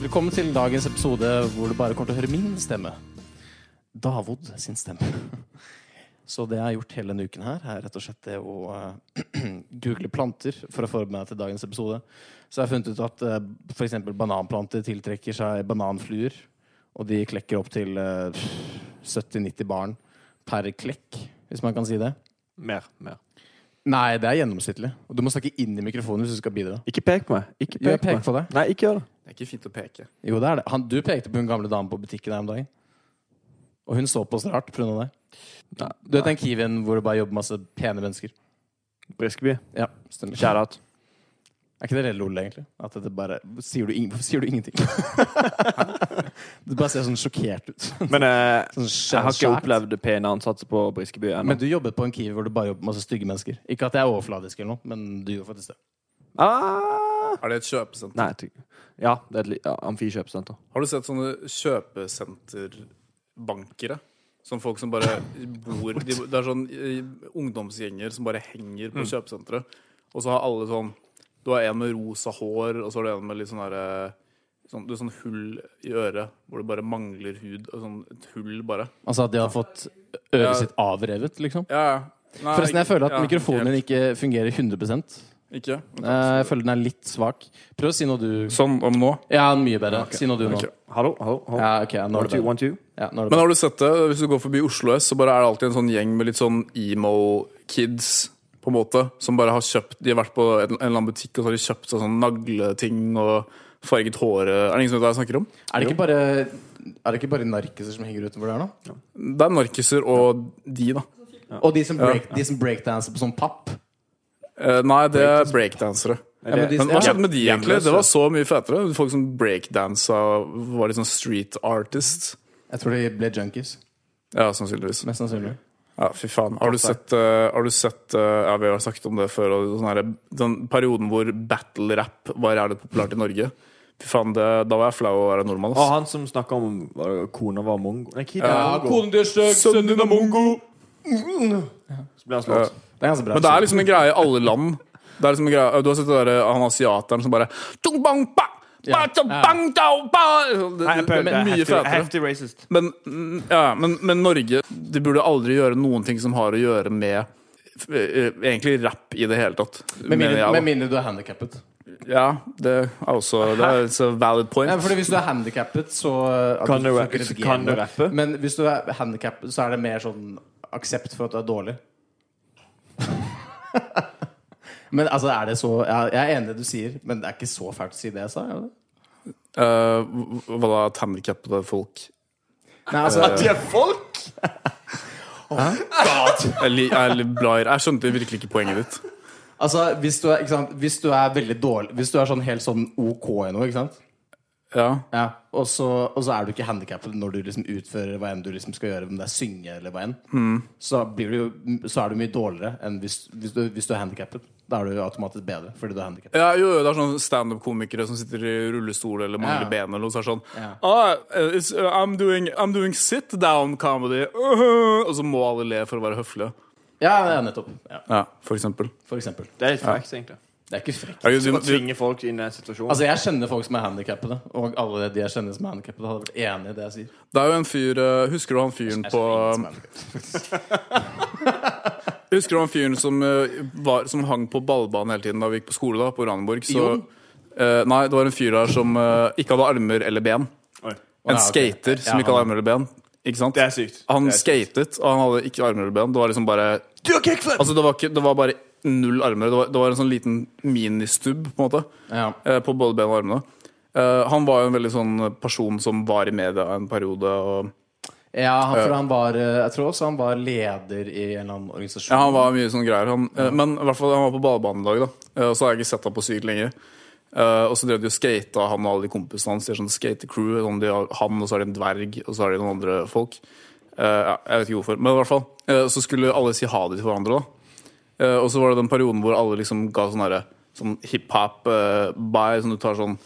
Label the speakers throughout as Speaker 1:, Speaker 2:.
Speaker 1: Velkommen til dagens episode hvor du bare kommer til å høre min stemme. Davod sin stemme. Så det jeg har gjort hele denne uken her, er rett og slett det å eh, google planter for å forberede meg til dagens episode. Så jeg har funnet ut at eh, for f.eks. bananplanter tiltrekker seg bananfluer. Og de klekker opp til eh, 70-90 barn per klekk, hvis man kan si det.
Speaker 2: Mer. mer.
Speaker 1: Nei, det er gjennomsnittlig. Og du må snakke inn i mikrofonen hvis du skal bidra.
Speaker 2: Ikke pek på meg. Ikke
Speaker 1: Jo, jeg
Speaker 2: pek på
Speaker 1: peker
Speaker 2: meg.
Speaker 1: på deg.
Speaker 2: Nei, ikke gjør det.
Speaker 3: Det er ikke fint å peke.
Speaker 1: Jo, det er det. Han, du pekte på hun gamle damen på butikken her om dagen. Og hun så på oss rart pga. det.
Speaker 2: Nei,
Speaker 1: Du vet den kiwien hvor det bare jobber masse pene mennesker?
Speaker 2: Briskeby.
Speaker 1: Ja, stemmer.
Speaker 2: Shout-out.
Speaker 1: Er ikke det litt lol, egentlig? At det bare Sier du, ing- hvorfor sier du ingenting? du bare ser sånn sjokkert ut.
Speaker 2: Men eh,
Speaker 1: Sånn
Speaker 2: jeg har ikke
Speaker 1: skjært.
Speaker 2: opplevd pene ansatser på Briskeby ennå.
Speaker 1: Men du jobbet på en kiwi hvor det bare jobber masse stygge mennesker. Ikke at jeg er overfladisk, eller noe, men du gjorde faktisk det.
Speaker 2: Ah!
Speaker 3: Er det et kjøpesenter?
Speaker 2: Nei, jeg tror- ja, det er et li- ja, amfikjøpesenter.
Speaker 3: Har du sett sånne kjøpesenterbankere? Sånn folk som bare bor de, Det er sånn eh, ungdomsgjenger som bare henger
Speaker 1: Mm.
Speaker 3: på kjøpesenteret. Og så har alle sånn Du har en med rosa hår, og så har du en med litt sånn derre sånn, Du har sånn hull i øret hvor det bare mangler hud. Og sånn et hull, bare.
Speaker 1: Altså at de har fått øret
Speaker 3: Ja.
Speaker 1: sitt avrevet, liksom.
Speaker 3: Ja, ja. Nei,
Speaker 1: Forresten, jeg føler at
Speaker 3: ja,
Speaker 1: mikrofonen din ikke fungerer 100
Speaker 3: Ikke?
Speaker 1: Eh, Jeg føler den er litt svak. Prøv å si noe du
Speaker 3: Sånn om nå.
Speaker 1: Ja, mye bedre. Si noe du nå.
Speaker 3: Ok.
Speaker 2: Hallo, hallo, hallo.
Speaker 1: Ja, ok, nå
Speaker 2: One,
Speaker 1: er det
Speaker 2: two,
Speaker 1: bedre.
Speaker 2: one, two.
Speaker 1: Ja, nå er det
Speaker 3: Men
Speaker 1: bedre.
Speaker 3: har du sett det? Hvis du går forbi Oslo S, så bare er det alltid en sånn gjeng med litt sånn emo-kids, på en måte, som bare har kjøpt De har vært på en, en eller annen butikk, og så har de kjøpt seg sånn nagleting og farget håret Er det ingen som vet hva jeg snakker om?
Speaker 1: Er det ikke bare Er det ikke bare narkiser som henger utenfor der nå?
Speaker 3: Det er narkiser og de, da.
Speaker 1: Og de som, break, de som breakdanser på sånn papp?
Speaker 3: Eh, nei, det er breakdansere.
Speaker 1: Ja, men de,
Speaker 3: Men hva
Speaker 1: ja.
Speaker 3: skjedde med de, egentlig? Det var så mye fetere. Folk som breakdansa var litt sånn street artists.
Speaker 1: Jeg tror de ble junkies.
Speaker 3: Ja, sannsynligvis.
Speaker 1: Mest sannsynlig.
Speaker 3: Ja, fy faen. Har du sett, eh, har du sett eh, Ja, vi har snakket om det før. Og sånn her, den perioden hvor battle-rap var jævlig populært i Norge. Fy faen, det, Da var jeg flau å være nordmann.
Speaker 2: Og
Speaker 3: ass.
Speaker 2: han som snakka om var, kona var mongo Nei, kid
Speaker 3: Ja,
Speaker 2: var mongo.
Speaker 1: din er stygg, sønnen din er mongo!
Speaker 2: Så ble han slått.
Speaker 1: Det er ganske bra.
Speaker 3: Men det er liksom en greie i alle land. Det er liksom en greie, Du har sett det der, han asiateren som bare Tung bang ba, ba,
Speaker 1: Ja.
Speaker 3: tung bang dao ba. Det,
Speaker 2: Nei, jeg
Speaker 3: det,
Speaker 2: prøvde.
Speaker 3: det er mye
Speaker 2: Heftig-
Speaker 3: fetere.
Speaker 2: Heftig racist.
Speaker 3: Men, mm, ja, men, men Norge De burde aldri gjøre noen ting som har å gjøre med eh, eh, Egentlig rap i det hele tatt.
Speaker 1: med
Speaker 3: mener
Speaker 1: mindre,
Speaker 3: jeg, da.
Speaker 1: med mindre du er handikappet.
Speaker 3: Ja, det er også Det er it's a valid point.
Speaker 1: Ja, fordi hvis du er handikappet, så uh, at
Speaker 2: Kan du
Speaker 1: får
Speaker 2: rappe-
Speaker 1: ikke redigere
Speaker 2: kan du
Speaker 1: det.
Speaker 2: rappe?
Speaker 1: Men hvis du er handikappet, så er det mer sånn aksept for at du er dårlig. men altså, er det så Jeg jeg er enig i det du sier, men det er ikke så fælt å si det jeg sa? Er det?
Speaker 3: Eh, hva da, at handikappede folk?
Speaker 1: Nei, altså,
Speaker 2: De er folk!
Speaker 3: Jeg, li, jeg, li, blar. jeg skjønte virkelig ikke poenget ditt.
Speaker 1: altså hvis, du er, ikke sant? hvis du er veldig dårlig Hvis du er sånn helt sånn OK i noe, ikke sant?
Speaker 3: Ja.
Speaker 1: Ja. Og, så, og så er du ikke handikappet når du liksom utfører hva enn du liksom skal gjøre, om det er synge eller hva enn. Så, blir du, jo- så er du mye dårligere enn hvis, hvis, du, hvis du er handikappet. Da er du automatisk bedre fordi du er handikappet.
Speaker 3: Ja, jo, jo, det er sånn standup-komikere som sitter i rullestol eller mangler
Speaker 1: Ja.
Speaker 3: ben. Eller noe, så er det sånn
Speaker 1: Ja.
Speaker 3: ah, it's, uh, I'm doing, I'm doing sit down comedy. og så må alle le for å være høflige.
Speaker 1: Ja, ja, nettopp. Ja,
Speaker 3: Ja, for eksempel.
Speaker 1: for eksempel.
Speaker 2: Det er litt facts, egentlig.
Speaker 1: Det er ikke frekt.
Speaker 3: Ja, du,
Speaker 2: Å
Speaker 3: du, du,
Speaker 2: tvinge folk inn i en situasjon.
Speaker 1: Altså, jeg kjenner folk som er handikappede, og alle de jeg kjenner som er handikappede, hadde vært enig i det jeg sier.
Speaker 3: det er jo en fyr eh, Husker du han fyren på um, Husker du han fyren som, eh, var, som hang på ballbanen hele tiden da vi gikk på skole da, på Ranenborg? Så,
Speaker 1: Jon?
Speaker 3: Eh, nei, det var en fyr der som eh, ikke hadde armer eller ben.
Speaker 2: Oi.
Speaker 1: Ja,
Speaker 3: En
Speaker 1: ok.
Speaker 3: skater som
Speaker 1: Ja,
Speaker 3: ikke hadde
Speaker 1: han-
Speaker 3: armer eller ben. Ikke sant?
Speaker 2: Det er sykt.
Speaker 3: Han
Speaker 2: Det er
Speaker 3: skatet, og han hadde ikke armer eller ben. Det var liksom bare
Speaker 2: Du har kickflip!
Speaker 3: Altså, det var, ikke, det var bare null armer. Det var, det var en sånn liten ministubb, på en måte.
Speaker 1: Ja.
Speaker 3: eh, På både ben og armene. Eh, han var jo en veldig sånn person som var i media en periode. Og,
Speaker 1: ja, han, for han var eh, Jeg tror også han var leder i en eller annen organisasjon.
Speaker 3: ja, han var mye sånne greier. Han, eh, men i hvert fall han var på ballbanen i dag, da. Eh, og så har jeg ikke sett ham på sykt lenge. Eh, og så drev de og skata, han og alle de kompisene hans. De er sånn skatecrew. Sånn de har han, og så har de en dverg, og så har de noen andre folk. Eh, ja, jeg vet ikke hvorfor. Men i hvert fall eh, så skulle alle si ha det til hverandre, da. Eh, og så var det den perioden hvor alle liksom ga sånn herre Sånn hiphop-bye, som du tar sånn,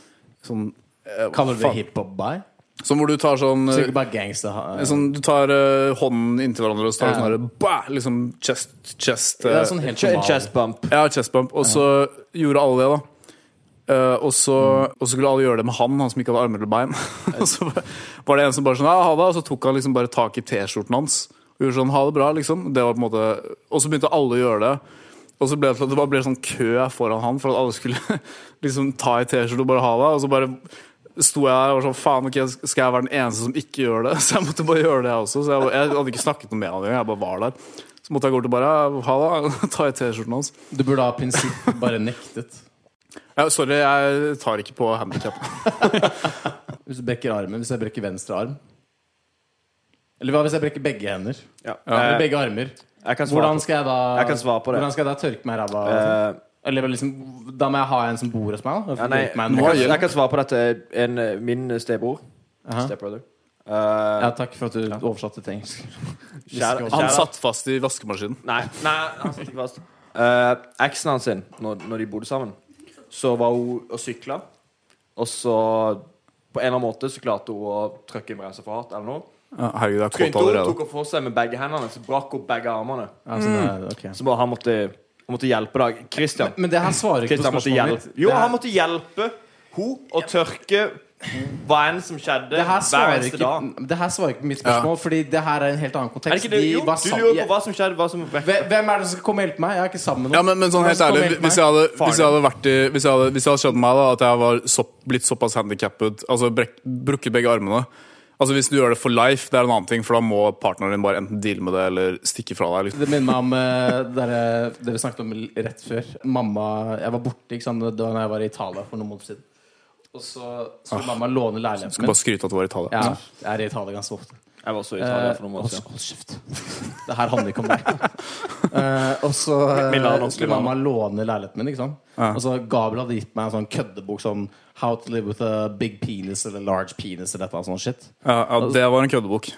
Speaker 3: sånn eh, hva
Speaker 1: Kaller du det
Speaker 3: faen?
Speaker 1: hiphop-bye?
Speaker 3: Sånn hvor du tar sånn
Speaker 1: Så
Speaker 3: eh,
Speaker 1: ikke bare gangster ha-
Speaker 3: Sånn, du tar eh, hånden inntil hverandre og så tar du
Speaker 1: Ja.
Speaker 3: sånn herre bah, Liksom chest, chest
Speaker 1: Det
Speaker 3: eh,
Speaker 1: er sånn helt
Speaker 2: Ch- En
Speaker 1: normal.
Speaker 2: chest bump.
Speaker 3: ja, chest bump. Og så gjorde alle det, da. Eh, og, så, og så skulle alle gjøre det med han, han som ikke hadde armer eller bein. og så var det en som bare sånn, ja, ha det, og så tok han liksom bare tak i T-skjorten hans. Og gjorde sånn, ha det bra, liksom. Det var på en måte, og så begynte alle å gjøre det. Og så ble det til at det bare ble sånn kø foran han for at alle skulle liksom ta i T-skjorte og bare ha det. Og så bare sto jeg der og var sånn, faen, ok, skal jeg være den eneste som ikke gjør det? Så jeg måtte bare gjøre det, jeg også. Så jeg, jeg hadde ikke snakket noe med han engang, jeg bare var der. Så måtte jeg gå bort og bare ja, ha det, ta i T-skjorten hans.
Speaker 1: Du burde av prinsipp bare nektet.
Speaker 3: Ja, sorry, jeg tar ikke på handikap.
Speaker 1: Hvis du brekker armen, hvis jeg brekker venstre arm Eller hva hvis jeg brekker begge hender?
Speaker 2: Ja.
Speaker 1: Eller
Speaker 2: Jeg,
Speaker 1: begge armer?
Speaker 2: jeg kan svare
Speaker 1: Hvordan
Speaker 2: på
Speaker 1: skal jeg da
Speaker 2: Jeg kan svare på det.
Speaker 1: Hvordan skal jeg da tørke meg i ræva?
Speaker 2: Eh,
Speaker 1: Eller liksom, da må jeg ha en som bor hos meg? Da,
Speaker 2: ja, nei, jeg,
Speaker 1: Hjelp meg
Speaker 2: kan,
Speaker 1: nå.
Speaker 3: gjør
Speaker 2: jeg kan svare på dette. En, eh, min stebror.
Speaker 1: Aha.
Speaker 2: Stepbrother. Eh,
Speaker 1: ja, takk for at du oversatte til engelsk.
Speaker 2: Mm. Kjære-
Speaker 3: Han
Speaker 2: kjære-
Speaker 3: satt fast i vaskemaskinen.
Speaker 2: Nei, nei han satt ikke fast. Eh, eksen hans sin, når, når de bodde sammen, så var hun og sykla. Og så, på en eller annen måte, så klarte hun å trykke inn bremsa for hardt eller noe.
Speaker 3: Ja, herregud, jeg er kåt
Speaker 2: Trynte hun,
Speaker 3: allerede.
Speaker 2: tok hun for seg med begge hendene, så brakk hun begge armene.
Speaker 1: Altså, det er- ok.
Speaker 2: Så bare han måtte, han måtte hjelpe deg. Christian.
Speaker 1: Men det her svarer ikke på
Speaker 2: Christian måtte
Speaker 1: spørsmålet
Speaker 2: hjelpe.
Speaker 1: mitt.
Speaker 2: Jo,
Speaker 1: det,
Speaker 2: han
Speaker 1: her,
Speaker 2: måtte hjelpe hun å tørke hva enn som skjedde,
Speaker 1: det, her
Speaker 2: hver
Speaker 1: svarer
Speaker 2: eneste
Speaker 1: ikke,
Speaker 2: dag.
Speaker 1: det her svarer ikke på mitt spørsmål, Fordi det her er en helt annen
Speaker 2: Er
Speaker 1: kontekst.
Speaker 2: det ikke det?
Speaker 1: De
Speaker 2: Jo,
Speaker 1: var
Speaker 2: du
Speaker 1: sam-
Speaker 2: lurer på
Speaker 1: jeg-
Speaker 2: hva som skjedde, hva som vekket
Speaker 1: Hve- Hvem er det som skal komme og hjelpe meg? Jeg er ikke sammen med noen.
Speaker 3: Ja, men, men sånn helt
Speaker 1: Hvem er det som
Speaker 3: ærlig,
Speaker 1: kommer og
Speaker 3: hvis
Speaker 1: hjelper
Speaker 3: jeg
Speaker 1: meg?
Speaker 3: hadde,
Speaker 2: Faren
Speaker 3: hvis jeg hadde vært i Hvis jeg hadde, hvis jeg hadde skjønt meg da at jeg var sopp, blitt såpass handikappet, altså brekk, brukket begge armene Altså Hvis du gjør det for life, det er en annen ting, for da må partneren din bare enten deale med det eller stikke fra deg. Liksom.
Speaker 1: Det minner meg om eh, dere, dere snakket om l- rett før. Mamma, Jeg var borte ikke sant? da jeg var i Italia for noen måneder siden. Og så skulle mamma låne leiligheten
Speaker 3: Ah. Skal bare skryte at du var i Italia.
Speaker 1: Ja, jeg er i Italia ganske ofte.
Speaker 2: Jeg var også i
Speaker 1: Eh,
Speaker 2: Italia for noen måneder
Speaker 1: hold,
Speaker 2: siden.
Speaker 1: hold kjeft. Det her handler ikke om deg. Eh, og så eh,
Speaker 2: Milano,
Speaker 1: skulle
Speaker 2: Milano.
Speaker 1: mamma låne leiligheten min. Ikke sant? Og så Gabriel hadde gitt meg en sånn køddebok sånn How to live with a big penis eller large penis eller et eller annet sånt shit.
Speaker 3: Ja, ja, det var en køddebok.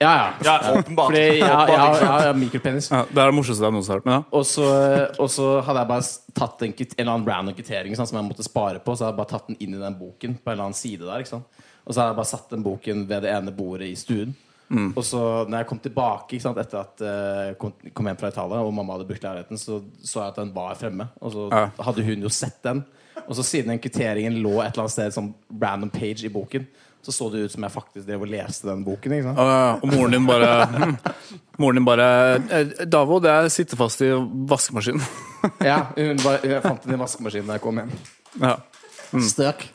Speaker 1: Ja, ja.
Speaker 2: Ja, åpenbart.
Speaker 1: Fordi jeg, jeg, jeg, jeg har mikropenis.
Speaker 3: Ja, det er det morsomste jeg noensinne har hørt. Men ja.
Speaker 1: Og så, og så hadde jeg bare s- tatt en, kvitt- en eller annen random kvittering sant, som jeg måtte spare på. Så hadde jeg bare tatt den inn i den boken på en eller annen side der. Ikke sant? Og så hadde jeg bare satt den boken ved det ene bordet i stuen.
Speaker 2: Mm.
Speaker 1: Og så når jeg kom tilbake ikke sant, etter at eh, kom, kom hjem fra Italia og mamma hadde brukt leiligheten, så så jeg at den var fremme. Og så
Speaker 3: Ja.
Speaker 1: hadde hun jo sett den. Og så siden den kvitteringen lå et eller annet sted som random page i boken, så så det ut som jeg faktisk drev og leste den boken. Ikke sant?
Speaker 3: Og, og moren din bare hm, Moren din bare «Eh, Davod, jeg sitter fast i vaskemaskinen.
Speaker 1: Ja, hun bare, jeg fant den i vaskemaskinen da jeg kom hjem.
Speaker 3: Ja.
Speaker 1: Støk.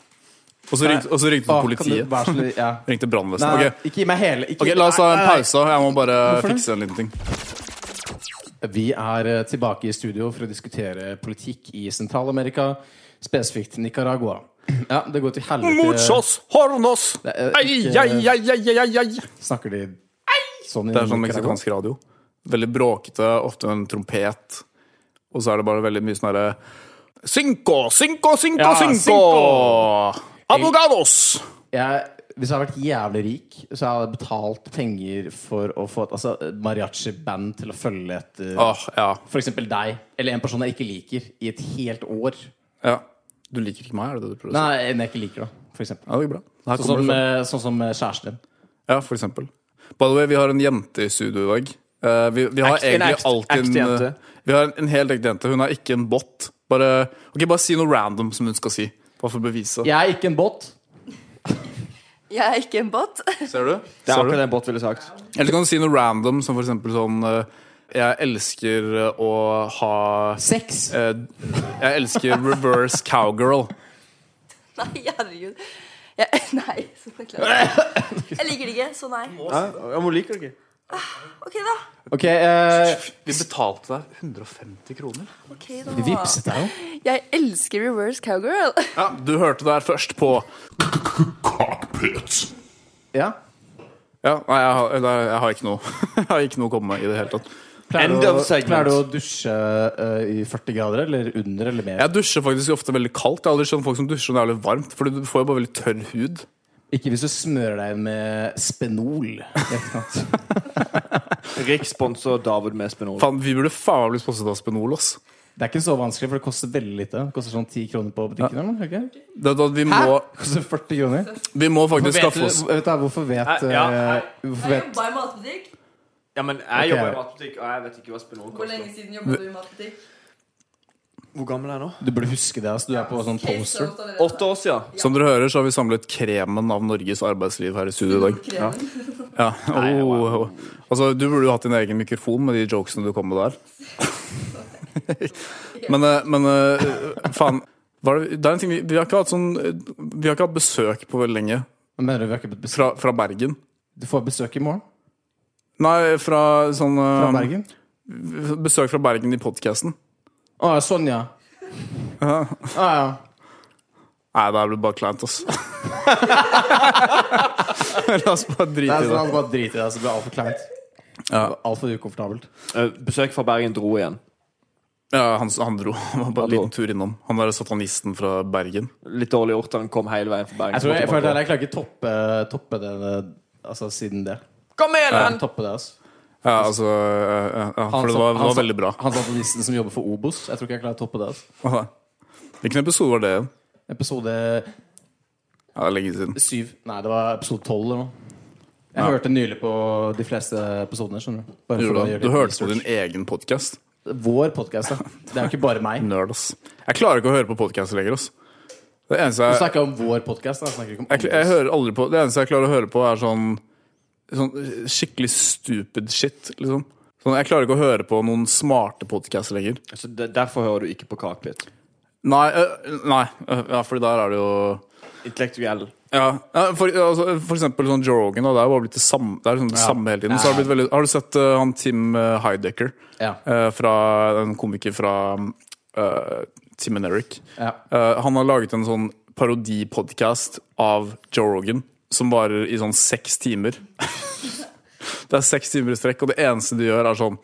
Speaker 3: Og så ringte, og så ringte du
Speaker 1: Å, kan
Speaker 3: Mm. politiet.
Speaker 1: du være så snill- ja.
Speaker 3: Ringte brannvesenet.
Speaker 1: Nei,
Speaker 3: Ok.
Speaker 1: ikke gi meg hele ikke,
Speaker 3: Ok, La oss ta en
Speaker 1: Nei, nei,
Speaker 3: pause. Jeg må bare
Speaker 1: Hvorfor det?
Speaker 3: fikse en liten ting.
Speaker 1: nei. Vi er eh, tilbake i studio for å diskutere politikk i Sentral-Amerika, spesifikt Nicaragua. Ja, det går til helvete
Speaker 3: Muchos hornos!
Speaker 1: Det er
Speaker 3: Ai,
Speaker 1: ikke-
Speaker 3: ai, ai, ai, ai, ai.
Speaker 1: Snakker de sånn i
Speaker 3: Det er
Speaker 1: Nicaragua?
Speaker 3: sånn meksikansk radio. Veldig bråkete, ofte en trompet. Og så er det bare veldig mye sånn herre Cinco, cinco, cinco,
Speaker 1: Ja,
Speaker 3: cinco!
Speaker 1: cinco!
Speaker 3: Abogados!
Speaker 1: Jeg, hvis jeg hadde vært jævlig rik, så hadde jeg betalt penger for å få et altså, mariachi-band til å følge etter
Speaker 3: Åh, ja.
Speaker 1: f.eks. deg, eller en person jeg ikke liker, i et helt år.
Speaker 3: ja. Du liker ikke meg, er det det du prøver å si?
Speaker 1: Nei, en jeg ikke liker, da. For eksempel.
Speaker 3: Ja, det går bra. Her
Speaker 1: Sånn
Speaker 3: kommer
Speaker 1: som,
Speaker 3: det fram.
Speaker 1: eh, sånn som eh, kjæresten din.
Speaker 3: Ja, for eksempel. By the way, vi har en jente i studio i dag. Eh, vi, vi har
Speaker 2: Ekte- en
Speaker 3: egentlig
Speaker 2: ekte-
Speaker 3: alltid
Speaker 2: ekte
Speaker 3: en,
Speaker 2: jente.
Speaker 3: eh, Vi har en, en helt ekte jente. Hun er ikke en bot. Bare, ok, bare si noe random som hun skal si. Bare for å bevise.
Speaker 1: Jeg er ikke en båt.
Speaker 4: Jeg er ikke en bot.
Speaker 3: Ser du?
Speaker 2: Det er
Speaker 3: Ser du?
Speaker 2: akkurat det Bott ville sagt.
Speaker 3: Eller kan du si noe random, som for eksempel sånn eh, Jeg elsker å ha
Speaker 1: Sex.
Speaker 3: eh, Jeg elsker reverse cowgirl.
Speaker 4: Nei, herregud. Jeg, nei, så beklager jeg. Jeg liker det ikke, så nei.
Speaker 2: Nei, hun liker det ikke.
Speaker 4: OK, da.
Speaker 1: Ok, eh,
Speaker 3: Vi betalte deg 150 kroner.
Speaker 4: Ok da.
Speaker 1: Vips, det er jo
Speaker 4: Jeg elsker reverse cowgirl.
Speaker 3: Ja, Du hørte det her først på
Speaker 5: cockpit.
Speaker 1: Ja.
Speaker 3: Ja, nei, jeg har, nei, jeg har ikke noe Jeg har ikke noe å komme med i det hele tatt.
Speaker 1: Pleier
Speaker 2: End
Speaker 1: du,
Speaker 2: of
Speaker 1: å-
Speaker 2: segment.
Speaker 1: pleier du å dusje eh, i 40 grader, eller under, eller mer?
Speaker 3: Jeg dusjer faktisk ofte veldig kaldt. Jeg har aldri skjønt folk som dusjer når det er veldig varmt, for du får jo bare veldig tørr hud.
Speaker 1: Ikke hvis du smører deg med spenol. Ikke sant?
Speaker 2: Rick sponser David med Spenol.
Speaker 3: Faen, vi burde faen bli sponset av Spenol, ass.
Speaker 1: Det er ikke så vanskelig, for det koster veldig lite. Det koster sånn 10 kroner på butikken. eller? ikke?
Speaker 3: Det, er at vi, må,
Speaker 1: Det koster 40 kroner.
Speaker 3: vi må
Speaker 1: Vet
Speaker 3: faktisk
Speaker 1: du,
Speaker 3: skaffe oss
Speaker 1: vet du, hvorfor vet,
Speaker 2: Nei, ja,
Speaker 1: eh,
Speaker 2: nei.
Speaker 1: hvorfor vet
Speaker 4: i matbutikk.
Speaker 2: Ja, men jeg
Speaker 1: jobber i
Speaker 2: matbutikk, og jeg vet ikke hva Spenol
Speaker 4: siden jobber du i matbutikk?
Speaker 2: Hvor gammel er jeg nå?
Speaker 1: Du burde huske det. ass. Du er på sånn poster.
Speaker 2: Åtte år siden.
Speaker 3: Som dere hører, så har vi samlet kremen av Norges arbeidsliv her i studio i dag.
Speaker 4: Ja.
Speaker 3: Ja. Oh, oh. Altså, du burde jo hatt din egen mikrofon med de jokesene du kom med der. men eh, men eh, faen var det, det er en ting, vi, vi, har ikke hatt sånn, eh, vi har ikke hatt besøk på veldig lenge
Speaker 1: Men Mener du vi har ikke blitt besøk?
Speaker 3: fra, fra Bergen.
Speaker 1: Du får besøk i morgen
Speaker 3: Nei, fra sånn
Speaker 1: fra
Speaker 2: Um,
Speaker 3: eh,
Speaker 1: Bergen.
Speaker 3: Besøk fra Bergen i podkasten.
Speaker 1: Å, sånn, ja. Ja, ja.
Speaker 3: Nei, det er vel bare kleint, ass. La oss bare
Speaker 1: Det
Speaker 3: drite
Speaker 1: er
Speaker 3: i
Speaker 1: sånn
Speaker 3: det.
Speaker 1: at Bare drit i det, så blir det altfor kleint.
Speaker 3: Ja,
Speaker 1: Altfor ukomfortabelt.
Speaker 2: Eh, Besøk fra Bergen dro igjen.
Speaker 3: ja han, han dro. Han var bare en liten tur innom. Han der satanisten fra Bergen.
Speaker 2: Litt dårlig gjort. Han kom hele veien fra Bergen.
Speaker 1: Jeg tror jeg, jeg, føler at jeg klarer ikke toppe, toppe det altså, siden det.
Speaker 2: Kom igjen,
Speaker 1: Jeg
Speaker 2: da!
Speaker 1: kan Toppe det, altså.
Speaker 3: Ja, altså ja, ja, For det
Speaker 1: sa-
Speaker 3: var, det var
Speaker 1: sa-
Speaker 3: veldig bra.
Speaker 1: Han satanisten som jobber for Obos. Jeg tror ikke jeg klarer å toppe det. Altså.
Speaker 3: Aha. Hvilken episode var det igjen?
Speaker 1: Episode
Speaker 3: Ja, det er lenge siden.
Speaker 1: syv Nei, det var episode tolv eller noe. Jeg hørte nylig på de fleste episodene. skjønner Du Bare for å gjøre
Speaker 3: Du
Speaker 1: litt
Speaker 3: hørte på din
Speaker 1: research.
Speaker 3: egen podkast?
Speaker 1: Vår podkast, da. Det er jo ikke bare meg.
Speaker 3: Nerd, ass. Jeg klarer ikke å høre på podkaster lenger, ass. Det eneste
Speaker 1: Du
Speaker 3: jeg,
Speaker 1: snakker om vår podkast. Jeg, ikke om
Speaker 3: jeg, jeg
Speaker 1: andres.
Speaker 3: hører aldri på Det eneste jeg klarer å høre på, er sånn, sånn skikkelig stupid shit, liksom. Sånn, jeg klarer ikke å høre på noen smarte podkaster lenger.
Speaker 2: Så de- derfor hører du ikke på Kakelitt.
Speaker 3: Nei, øh, nei, øh, ja, fordi der er det jo
Speaker 2: Intellektuell.
Speaker 3: Ja, ja, for, altså, for eksempel sånn Joe Rogan, da, det er jo bare blitt det samme, det er liksom det samme hele tiden. Så har, det blitt veldig, har du sett eh, han Tim eh, Heidecker?
Speaker 1: Ja.
Speaker 3: Eh, fra, en komiker fra eh, Tim and Eric.
Speaker 1: Ja.
Speaker 3: Eh, han har laget en sånn parodipodkast av Joe Rogan som varer i sånn seks timer. det er seks timer i strekk, og det eneste de gjør, er sånn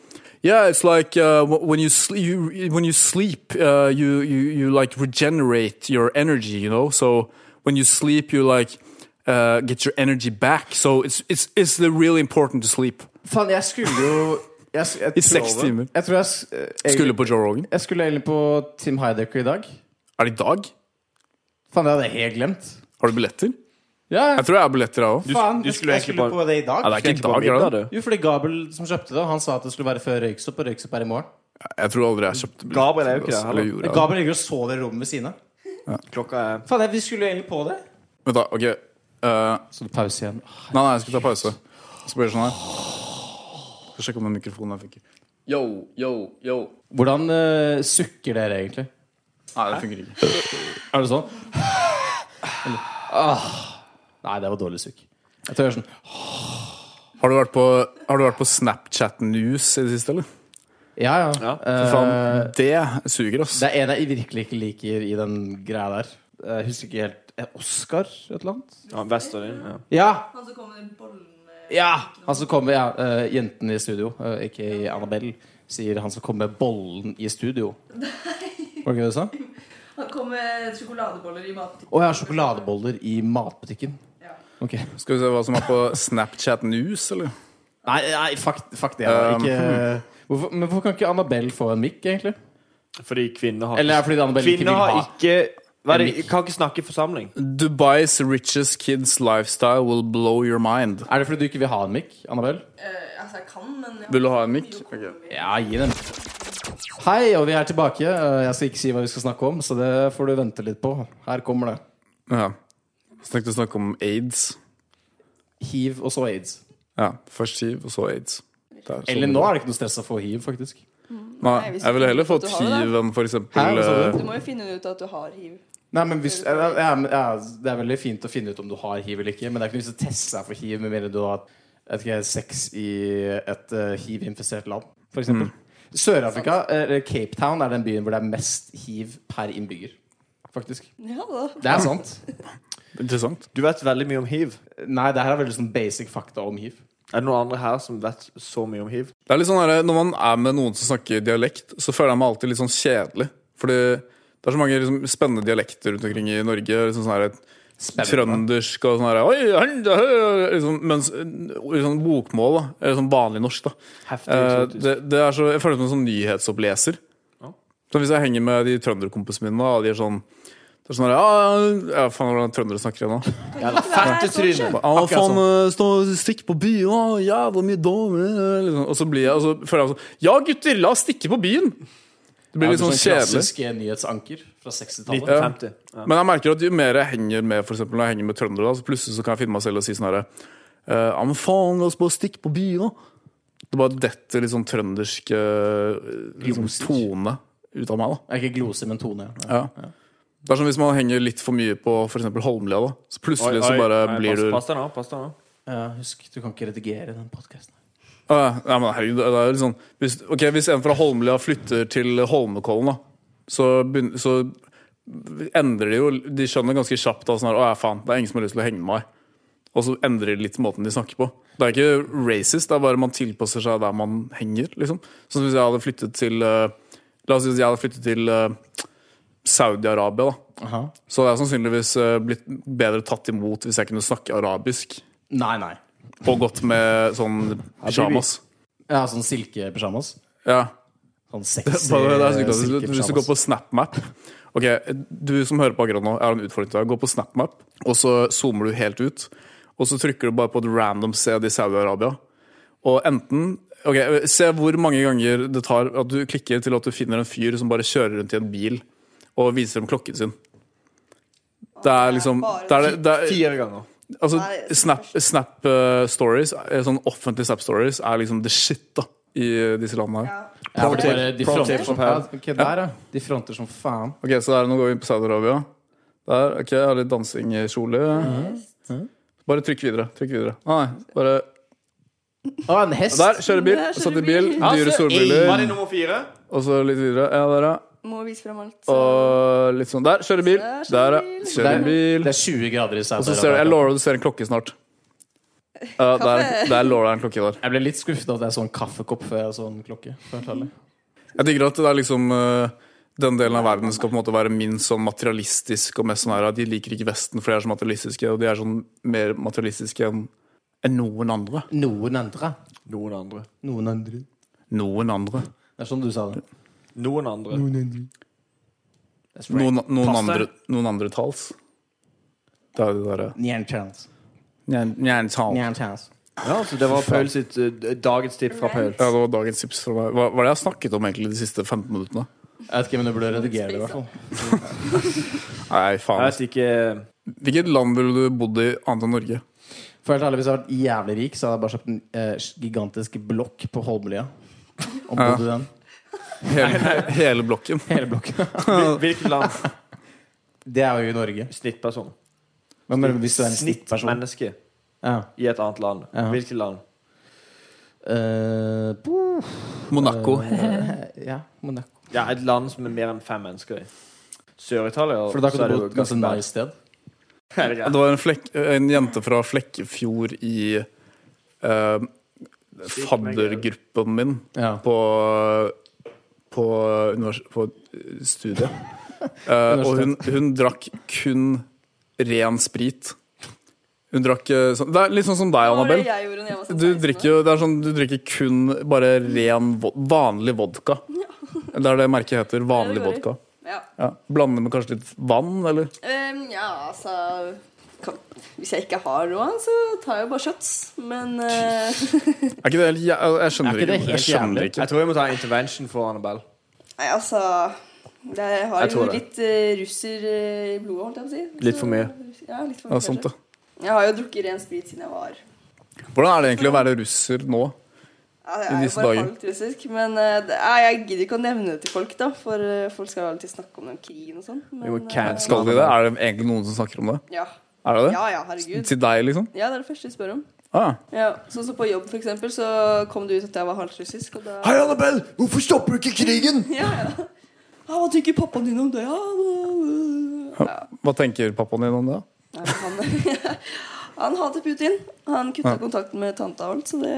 Speaker 3: Yeah, it's like uh, when you sleep, you, when you, sleep uh, you, you, you like regenerate your energy, you know? So when you sleep, you like uh, get your energy back. So it's, it's, it's really important to sleep.
Speaker 1: Faen, jeg skulle jo jeg, jeg,
Speaker 3: I seks
Speaker 1: tror-
Speaker 3: timer.
Speaker 1: Jeg tror jeg, s- eh, egentlig-
Speaker 3: Skulle på Joe Rogan.
Speaker 1: jeg skulle egentlig på Tim Heidecker i dag.
Speaker 3: Er det i dag?
Speaker 1: Faen, det hadde jeg helt glemt.
Speaker 3: Har du billetter?
Speaker 1: Ja,
Speaker 3: Jeg tror jeg har billetter, jeg òg.
Speaker 1: faen,
Speaker 2: du
Speaker 1: jeg
Speaker 2: skulle
Speaker 1: skulle, jeg
Speaker 2: egentlig
Speaker 1: skulle
Speaker 2: bare-
Speaker 1: på det i dag.
Speaker 3: Ja, det er ikke i dag, er det?
Speaker 2: du.
Speaker 1: Jo, fordi Gabel som kjøpte det, han sa at det skulle være før Røyksopp, og Røyksopp er i morgen.
Speaker 3: Jeg tror aldri jeg kjøpte billetter.
Speaker 2: Gabriel er jo ikke
Speaker 3: altså,
Speaker 2: det,
Speaker 3: eller
Speaker 2: heller.
Speaker 3: gjorde jeg det.
Speaker 1: Gabel ligger og sover i rommet ved siden av.
Speaker 2: Klokka er
Speaker 1: Faen, jeg- vi skulle jo egentlig på det.
Speaker 3: Vent, da. Ok. eh,
Speaker 1: Så det pause igjen.
Speaker 3: nei, nei, jeg skal ta pause. Så blir det sånn her. Skal sjekke om den mikrofonen her funker. Yo, yo, yo.
Speaker 1: Hvordan eh, sukker dere egentlig?
Speaker 3: Nei, det funker ikke.
Speaker 1: Er det sånn? Eller, ah. Nei, det var dårlig sukk. Jeg tror jeg gjør sånn
Speaker 3: Har du vært på, har du vært på Snapchat News i det siste, eller?
Speaker 1: Ja, ja.
Speaker 2: Ja,
Speaker 1: Eh,
Speaker 3: Faen, det suger, ass.
Speaker 1: det er en jeg virkelig ikke liker i den greia der. Jeg husker ikke helt eh, Oscar et eller annet?
Speaker 2: ja, Vester din. Ja.
Speaker 1: Ja!
Speaker 4: Han som kom med den bollen med
Speaker 1: Ja! Han som kommer, ja, eh, jenten i studio, eh, ikke Annabelle, sier han som kommer med bollen i studio. Var det ikke det du sa?
Speaker 4: Han kom med sjokoladeboller i mat.
Speaker 1: Å, jeg har sjokoladeboller i matbutikken.
Speaker 4: Ja.
Speaker 1: Ok.
Speaker 3: Skal vi se hva som er på Snapchat News, eller?
Speaker 1: Nei, nei fuck, fuck det. jeg
Speaker 3: Um,
Speaker 1: Ikke, hvorfor, men hvorfor kan ikke Annabelle få en mikk, egentlig?
Speaker 2: Fordi kvinner har
Speaker 1: Eller er det fordi Annabelle ikke
Speaker 2: Kvinner
Speaker 1: vil
Speaker 2: har
Speaker 1: ha
Speaker 2: ikke hva er det, Kan ikke snakke i forsamling.
Speaker 3: Dubais richest kids lifestyle will blow your mind.
Speaker 1: Er det fordi du ikke vil ha en mikk, Annabelle?
Speaker 4: Eh, altså, jeg kan, men jeg
Speaker 3: Vil du ha en mic? Ok.
Speaker 1: Ja, gi den. Hei, og vi er tilbake. Eh, Jeg skal ikke si hva vi skal snakke om, så det får du vente litt på. Her kommer det.
Speaker 3: Ja. Så tenkte jeg å snakke om aids.
Speaker 1: Hiv og så aids.
Speaker 3: Ja, Først hiv, og så aids. Det er sånn-
Speaker 1: Eller nå er det ikke noe stress å få hiv, faktisk.
Speaker 3: Nei,
Speaker 4: hvis
Speaker 3: jeg ville
Speaker 4: du
Speaker 3: heller
Speaker 4: finner ut
Speaker 3: fått
Speaker 4: at du har det, sånn.
Speaker 3: hiv enn for eksempel
Speaker 1: Hæ, hva sa
Speaker 3: eh,
Speaker 4: Du må jo finne ut at du har hiv.
Speaker 1: Nei, men hvis, ja, ja, men- ja, Det er veldig fint å finne ut om du har hiv eller ikke, men det er ikke noe vits å teste deg for hiv med mindre du har jeg vet ikke, sex i et eh, hiv-infisert land, f.eks. Sør-Afrika, eller Cape Town, er den byen hvor det er mest hiv per innbygger. Faktisk.
Speaker 4: Ja da.
Speaker 1: Det er sant.
Speaker 3: Interessant.
Speaker 2: Du vet veldig mye om hiv.
Speaker 1: Nei, det her er veldig sånn basic fakta om hiv.
Speaker 2: Er det noen andre her som vet så mye om hiv?
Speaker 3: Det er litt sånn her, Når man er med noen som snakker dialekt, så føler jeg meg alltid litt sånn kjedelig. Fordi det er så mange liksom, spennende dialekter rundt omkring i Norge. Liksom sånn her, Trøndersk og sånn her Oi, han, da, hø», liksom, Mens eh, liksom, bokmål, da, eller sånn vanlig norsk, da
Speaker 2: Heftig
Speaker 3: Eh,
Speaker 2: eksotisk.
Speaker 3: det, det er så, jeg føler meg som en sånn nyhetsoppleser. Så hvis jeg henger med de trønderkompisene mine, da, og de er sånn det er sånn her, ja, ja, faen hvordan trøndere snakker igjen nå.
Speaker 2: Jævla fette tryne.
Speaker 3: Ja, faen,
Speaker 2: sånn.
Speaker 3: eh, stå og stikk på byen, å, jævla mye damer eh, liksom. Og så blir jeg, og så føler jeg sånn Ja, gutter, la oss stikke på byen! Det blir litt sånn kjedelig.
Speaker 1: Klassiske nyhetsanker fra 60-tallet.
Speaker 2: 1950. Ja.
Speaker 3: Men jeg merker at jo mer jeg henger med for eksempel, når jeg henger med trøndere, da, så plutselig så kan jeg finne meg selv og si sånn herre Ja, men faen, la oss bare stikke på byen, da. Det bare detter litt sånn trøndersk eh, liksom,
Speaker 1: Gloser.
Speaker 3: tone ut av meg, da.
Speaker 1: Det er ikke gloser, men tone. Ja.
Speaker 3: Ja. Det er som hvis man henger litt for mye på for eksempel Holmlia, da. Så
Speaker 2: Oi,
Speaker 3: plutselig
Speaker 2: oi,
Speaker 3: så bare
Speaker 2: nei,
Speaker 3: blir du
Speaker 2: pass, pass deg nå. Pass deg nå.
Speaker 1: Ja, husk, du kan ikke redigere den podkasten.
Speaker 3: Å, ja. Nei, men herregud, det er jo litt sånn hvis, Ok, hvis en fra Holmlia flytter til Holmenkollen, da, så, begyn- så endrer de jo De skjønner ganske kjapt da, sånn her, å ja, faen, det er ingen som har lyst til å henge med meg. Og så endrer de litt måten de snakker på. Det er ikke racist, det er bare man tilpasser seg der man henger. liksom. Sånn som hvis jeg hadde flyttet til eh, La oss si at jeg hadde flyttet til eh, Saudi-Arabia, da. Så hadde jeg sannsynligvis eh, blitt bedre tatt imot hvis jeg kunne snakke arabisk.
Speaker 1: Nei, nei.
Speaker 3: Og gått med sånn pysjamas.
Speaker 1: Ja, sånn silkepysjamas.
Speaker 3: Ja.
Speaker 1: Sånn sexy
Speaker 3: Bare, det er så
Speaker 1: eh,
Speaker 3: hyggelig. Hvis du går på SnapMap Ok, Du som hører på akkurat nå, jeg har en utfordring til deg. Gå på SnapMap, og så zoomer du helt ut. Og så trykker du bare på et random sted i Saudi-Arabia. Og enten Ok, Se hvor mange ganger det tar at du klikker til at du finner en fyr som bare kjører rundt i en bil og viser dem klokken sin. Det er liksom det er, det er,
Speaker 2: Fire ganger.
Speaker 3: Altså,
Speaker 4: Nei,
Speaker 3: snap, snap eh, stories, eh, sånn offentlig snap stories, er liksom the shit da i eh, disse landene her.
Speaker 4: Ja.
Speaker 1: Ja, for det er bare- de
Speaker 2: Pro
Speaker 1: fronter som
Speaker 2: tip from her.
Speaker 1: faen. Ok, der, ja. De fronter som faen.
Speaker 3: Ok, så der, nå går vi inn på Saudi-Arabia. Der, ok, jeg har litt dansing i kjole. Bare trykk videre. Trykk videre. Nei, bare
Speaker 1: Å, en hest!
Speaker 3: Der, kjører bil.
Speaker 4: Der kjører
Speaker 3: Satt i bil.
Speaker 4: bil.
Speaker 3: Dyre
Speaker 2: Var
Speaker 3: solbriller.
Speaker 2: det nummer fire?
Speaker 3: Og så litt videre. Ja, der, ja.
Speaker 4: Må vise frem alt.
Speaker 3: Og litt sånn. Der, kjører bil.
Speaker 4: Der, kjører
Speaker 3: Der, ja.
Speaker 4: bil.
Speaker 1: Der.
Speaker 3: Kjører bil.
Speaker 1: Det er 20 grader i
Speaker 3: Og så ser du,
Speaker 1: Saudi-Arabia.
Speaker 3: jeg lover deg, du ser en klokke snart. Ja, der, der lover jeg en klokke der.
Speaker 1: Jeg ble litt skuffet av at det er sånn kaffekopp før jeg så en klokke. for å være ærlig.
Speaker 3: Jeg digger at det er liksom eh, den delen av verden skal på en måte være minst sånn materialistisk og mest sånn her at de liker ikke Vesten for de er så materialistiske, og de er sånn mer materialistiske enn enn noen andre.
Speaker 1: Noen andre.
Speaker 2: Noen andre.
Speaker 1: Noen andre.
Speaker 3: Noen andre.
Speaker 1: Det er sånn du sa det.
Speaker 2: Noen andre.
Speaker 1: That's right.
Speaker 3: Noen, noen,
Speaker 2: Pass deg.
Speaker 3: andre, noen andre tals. Det er jo det derre
Speaker 1: Nyan chance.
Speaker 3: Njan- njantal.
Speaker 1: Nyan chance.
Speaker 2: Ja, så det var Paul sitt eh, dagens tip fra Paul.
Speaker 3: Ja, det var dagens tips fra meg. Hva, hva er det jeg har snakket om egentlig de siste 15 minuttene?
Speaker 1: Jeg vet ikke, men du burde redigere det, i hvert fall.
Speaker 3: Nei,
Speaker 2: Jeg
Speaker 3: faen.
Speaker 2: vet ikke
Speaker 3: Hvilket land ville du bodd i annet enn Norge?
Speaker 1: For helt ærlig, Hvis jeg hadde vært jævlig rik, så hadde jeg bare kjøpt en eh, gigantisk blokk på Holmlia. Og bodd i den.
Speaker 3: Hele, hele blokken.
Speaker 1: Hele blokken.
Speaker 2: hvil- eh, Hvilket land?
Speaker 1: Det er jo i Norge.
Speaker 2: Snittperson.
Speaker 1: Men bare hvis du er en snittperson
Speaker 2: Snittmenneske
Speaker 1: ja.
Speaker 2: i et annet land.
Speaker 1: Ja.
Speaker 2: Hvilket land?
Speaker 1: Eh,
Speaker 3: Monaco.
Speaker 1: Øh, ja, Monaco.
Speaker 2: Ja, et land som er mer enn fem mennesker i. Sør-Italia.
Speaker 1: For da
Speaker 2: så
Speaker 1: kan
Speaker 2: er
Speaker 1: du
Speaker 2: det
Speaker 1: bo
Speaker 2: jo
Speaker 1: et ganske
Speaker 2: ganske-
Speaker 1: nice sted.
Speaker 2: Er det greit?
Speaker 3: Ja, Det var en, flekk, en jente fra Flekkefjord i eh, faddergruppen min
Speaker 1: Ja.
Speaker 3: på, på, univers, på studiet. Eh, og hun, hun drakk kun ren sprit. Hun drakk eh, sånn Det er litt sånn som deg,
Speaker 4: Hva var det
Speaker 3: Annabelle.
Speaker 4: jeg gjorde når jeg var sånn
Speaker 3: Du
Speaker 4: 16 år?
Speaker 3: drikker, jo- det er sånn, du drikker kun bare ren, vo- vanlig vodka. Det er det merket heter. Vanlig
Speaker 4: Ja, det går i.
Speaker 3: vodka.
Speaker 4: Ja.
Speaker 3: Ja. Blande med kanskje litt vann, eller?
Speaker 4: Ehm, ja, altså kan, Hvis jeg ikke har råd, så tar jeg jo bare shots. Men eh,
Speaker 3: Er ikke det helt jæ... Jeg skjønner
Speaker 1: Er ikke det
Speaker 3: ikke. Jeg
Speaker 1: helt jævlig?
Speaker 3: skjønner ikke.
Speaker 2: Jeg tror jeg må ta en intervention for Annabelle.
Speaker 4: Nei, altså det jeg har
Speaker 2: Jeg
Speaker 4: jo
Speaker 2: tror det.
Speaker 4: litt eh, russer eh, i blodet, holdt jeg på å si.
Speaker 2: Litt
Speaker 4: Så-
Speaker 2: for
Speaker 4: Ja, litt for mye,
Speaker 3: Ja, sant
Speaker 4: kanskje.
Speaker 3: det.
Speaker 4: Jeg har jo drukket ren sprit siden jeg var
Speaker 3: Hvordan er det egentlig å være russer nå?
Speaker 4: ja, Jeg
Speaker 3: I
Speaker 4: er jo
Speaker 3: disse
Speaker 4: bare
Speaker 3: dager.
Speaker 4: halvt russisk. Men eh, det, nei, jeg gidder ikke å nevne det til folk, da. For eh, folk skal jo alltid snakke om den krigen og sånn.
Speaker 2: Vi må
Speaker 4: men, eh,
Speaker 2: cancel.
Speaker 3: Skal de det? Er det egentlig noen som snakker om det?
Speaker 4: Ja.
Speaker 3: Er det det?
Speaker 4: ja, ja, herregud.
Speaker 3: Til deg, liksom?
Speaker 4: Ja, det er det første de spør om.
Speaker 3: Ah.
Speaker 4: Ja, Sånn som på jobb, for eksempel, så kom det ut at jeg var halvt russisk, og da
Speaker 2: Annabelle! Hvorfor stopper du ikke krigen?
Speaker 4: Ja, ja. Ja, Hva tenker pappaen din om det? Ja, da- ja.
Speaker 3: Hva tenker pappaen din om det?
Speaker 4: Nei, Han, han hater Putin. Han kutta
Speaker 3: Ja.
Speaker 4: kontakten med tanta og alt, så det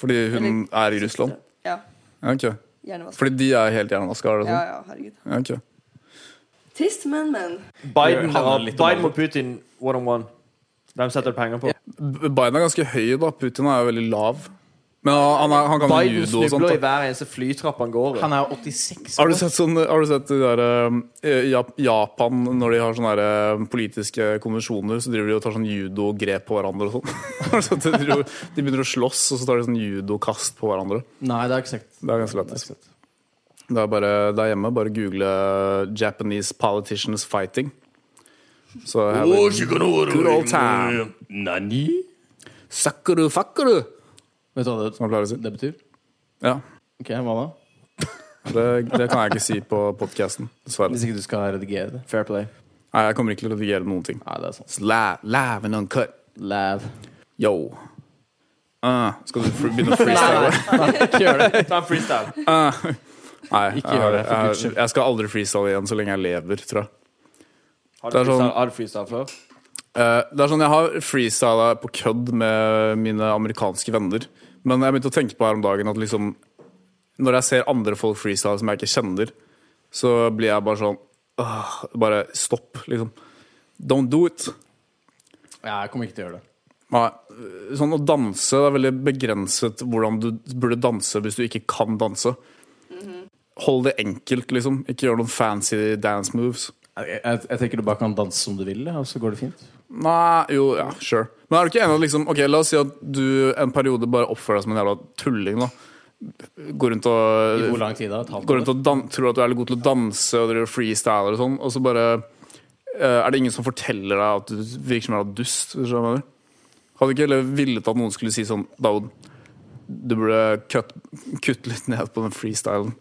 Speaker 3: Fordi hun er i Russland?
Speaker 4: Ja.
Speaker 3: Ja, Ok.
Speaker 4: Hjernevask.
Speaker 3: Fordi de er helt hjernevaska? Er det
Speaker 4: Ja,
Speaker 3: sånn?
Speaker 4: ja, herregud.
Speaker 3: Ja, ok.
Speaker 4: Trist, men, men.
Speaker 2: Biden,
Speaker 1: Det handler
Speaker 2: har-
Speaker 1: litt om
Speaker 2: Biden
Speaker 1: det.
Speaker 2: mot Putin one on one. De setter du penger på.
Speaker 3: B- Biden er ganske høy, da. Putin er jo veldig lav. Men han, han, er, han kan jo
Speaker 2: Biden
Speaker 3: judo og
Speaker 2: snubler i
Speaker 3: sånt. Da.
Speaker 2: hver eneste flytrapp han går i.
Speaker 1: Han er jo 86
Speaker 3: Har du sett, sånn, har du sett de der, eh, Jap- Japan, når de har sånne der, eh, politiske konvensjoner, så driver de og tar sånn judo-grep på hverandre og sånn? Har du sett de, driver- de begynner å slåss, og så tar de sånn judokast på hverandre.
Speaker 1: Nei, det har jeg ikke sett.
Speaker 3: Det er ganske
Speaker 1: Det har jeg
Speaker 3: lættis.
Speaker 1: ikke sett.
Speaker 3: Det er bare der hjemme. Bare google eh, 'Japanese politicians fighting'. Så have a good old time.
Speaker 1: Nani?
Speaker 3: Sakuru fakuru,
Speaker 1: Vet du hva
Speaker 3: som
Speaker 1: det,
Speaker 3: man pleier å si.
Speaker 1: det betyr?
Speaker 3: Ja.
Speaker 1: Ok, hva da?
Speaker 3: Det, det kan jeg ikke si på podkasten, dessverre.
Speaker 1: Hvis ikke du skal redigere det.
Speaker 2: Fair play.
Speaker 3: Nei, jeg kommer ikke til å redigere noen ting.
Speaker 1: Nei, det er sant.
Speaker 3: It's live, live and uncut.
Speaker 1: Lav.
Speaker 3: Yo. Uh, skal du fr- begynne å freestyle?
Speaker 1: Ikke gjør det.
Speaker 2: Ta en freestyle.
Speaker 3: Nei,
Speaker 1: Ikke gjør det, for
Speaker 3: jeg-
Speaker 1: Guds skyld.
Speaker 3: Jeg, jeg skal aldri freestyle igjen så lenge jeg lever, tror jeg.
Speaker 2: Har
Speaker 3: Det
Speaker 2: du
Speaker 3: er sånn-
Speaker 2: freestyle, har du freestyle før?
Speaker 3: Eh, det er sånn, Jeg har freestyla på kødd med mine amerikanske venner. Men jeg begynte å tenke på her om dagen at liksom når jeg ser andre folk freestyle som jeg ikke kjenner, så blir jeg bare sånn «Åh, Bare stopp, liksom. Don't do it.
Speaker 1: Jeg kommer ikke til å gjøre det.
Speaker 3: Nei. Sånn å danse Det er veldig begrenset hvordan du burde danse hvis du ikke kan danse. Hold det enkelt, liksom. Ikke gjør noen fancy dance moves.
Speaker 1: Jeg, jeg, jeg tenker du bare kan danse som du vil, ja, og så går det fint.
Speaker 3: Nei, jo, ja, sure. Men er du ikke enig i at liksom, ok, la oss si at du en periode bare oppfører deg som en jævla tulling, da. Går rundt
Speaker 1: I hvor
Speaker 3: og,
Speaker 1: lang tid da? Et halvt
Speaker 3: går rundt
Speaker 1: år?
Speaker 3: og dan tror at du er litt god til å danse og driver freestyler og sånn, og så bare eh, er det ingen som forteller deg at du virker som en jævla dust? hvis du skjønner hva jeg mener? Hadde du ikke heller villet at noen skulle si sånn Daoud, du burde kutt- kutte litt ned på den freestylen.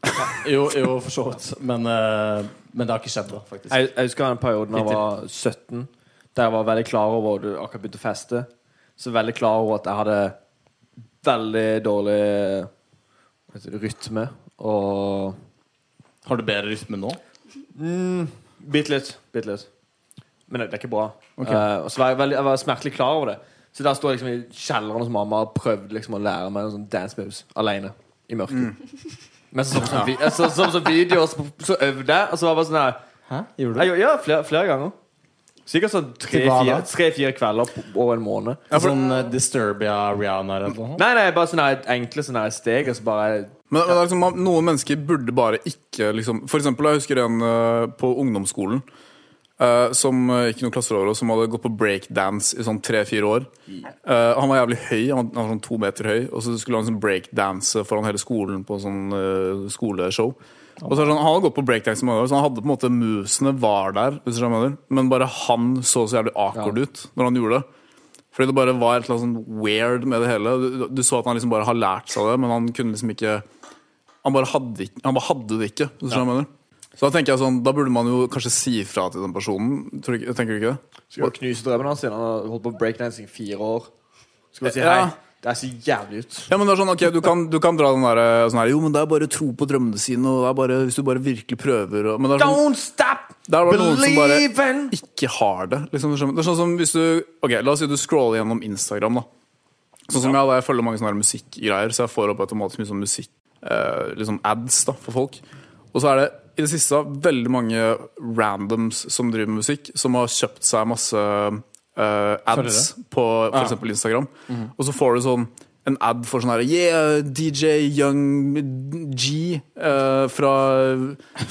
Speaker 1: Jo, jo, for så vidt. Men, eh, men det har ikke skjedd, da, faktisk.
Speaker 2: Jeg, jeg husker en periode da jeg var 17, der jeg var veldig klar over og akkurat begynte å feste. Så veldig klar over at jeg hadde veldig dårlig hva heter det, rytme. Og
Speaker 1: Har du bedre rytme nå?
Speaker 2: Mm, bitte litt. Bitte litt. Men det, det er ikke bra. Eh, og så var jeg, veldig, jeg var smertelig klar over det. Så der står jeg liksom i kjelleren hos mamma og prøvde liksom å lære meg noen sånne dance moves alene. I mørket.
Speaker 1: Mm.
Speaker 2: Men så så sånn, vi- jeg så, så, så videoer, så, så øvde jeg, og så var jeg bare sånn her
Speaker 1: Hæ? Gjorde du det?
Speaker 2: Jeg, gjorde- ja, flere, flere ganger. Sikkert sånn
Speaker 1: Til hva da?
Speaker 2: tre-fire tre, kvelder på- over en måned.
Speaker 1: Sånn eh, Disturbia Rihanna eller noe? sånt?
Speaker 2: Nei, nei, bare sånne her enkle sånne her steg. Og så bare
Speaker 3: Men, men det er liksom, man- noen mennesker burde bare ikke liksom, For eksempel, jeg husker en eh, på ungdomsskolen eh, som eh, gikk noen klasser over oss, som hadde gått på breakdance i sånn tre-fire år. Eh, han var jævlig høy, han var, han var sånn to meter høy, og så skulle han sånn breakdance foran hele skolen på sånn eh, skoleshow. Og så er det sånn, Han hadde gått på breakdance i mange år, så han hadde på en måte movesene var der, hvis du skjønner hva jeg mener. men bare han så så jævlig awkward ut når han gjorde det. Fordi det bare var et eller annet sånn weird med det hele. Du, du så at han liksom bare har lært seg det, men han kunne liksom ikke Han bare hadde, ikke- han bare hadde det ikke. hvis du skjønner hva jeg mener. Så da tenker jeg sånn, da burde man jo kanskje si fra til den personen. Tror du, ikke- tenker du ikke det?
Speaker 2: Skal vi knuse drømmen hans siden han har holdt på med breakdancing i fire år. Skal vi si
Speaker 3: Ja.
Speaker 2: hei. Det er så jævlig ut.
Speaker 3: Ja, men det er sånn, ok, Du kan, du kan dra den der, sånn her Jo, men det er bare å tro på drømmene sine, og det er bare, hvis du bare virkelig prøver og, Men det er sånn,
Speaker 2: Don't stop
Speaker 3: det er bare noen som bare
Speaker 2: believing!
Speaker 3: ikke har det. Liksom, du skjønner. det er sånn som hvis du Ok, La oss si du scroller gjennom Instagram. da Sånn som jeg, da, jeg følger mange sånne her musikkgreier, så jeg får opp automatisk mye sånn musikk eh, Liksom ads da, for folk. Og så er det i det siste veldig mange randoms som driver med musikk, som har kjøpt seg masse eh, ads på f.eks. eksempel Instagram. Og så får du sånn en ad for sånn her Yeah, DJ Young G eh, fra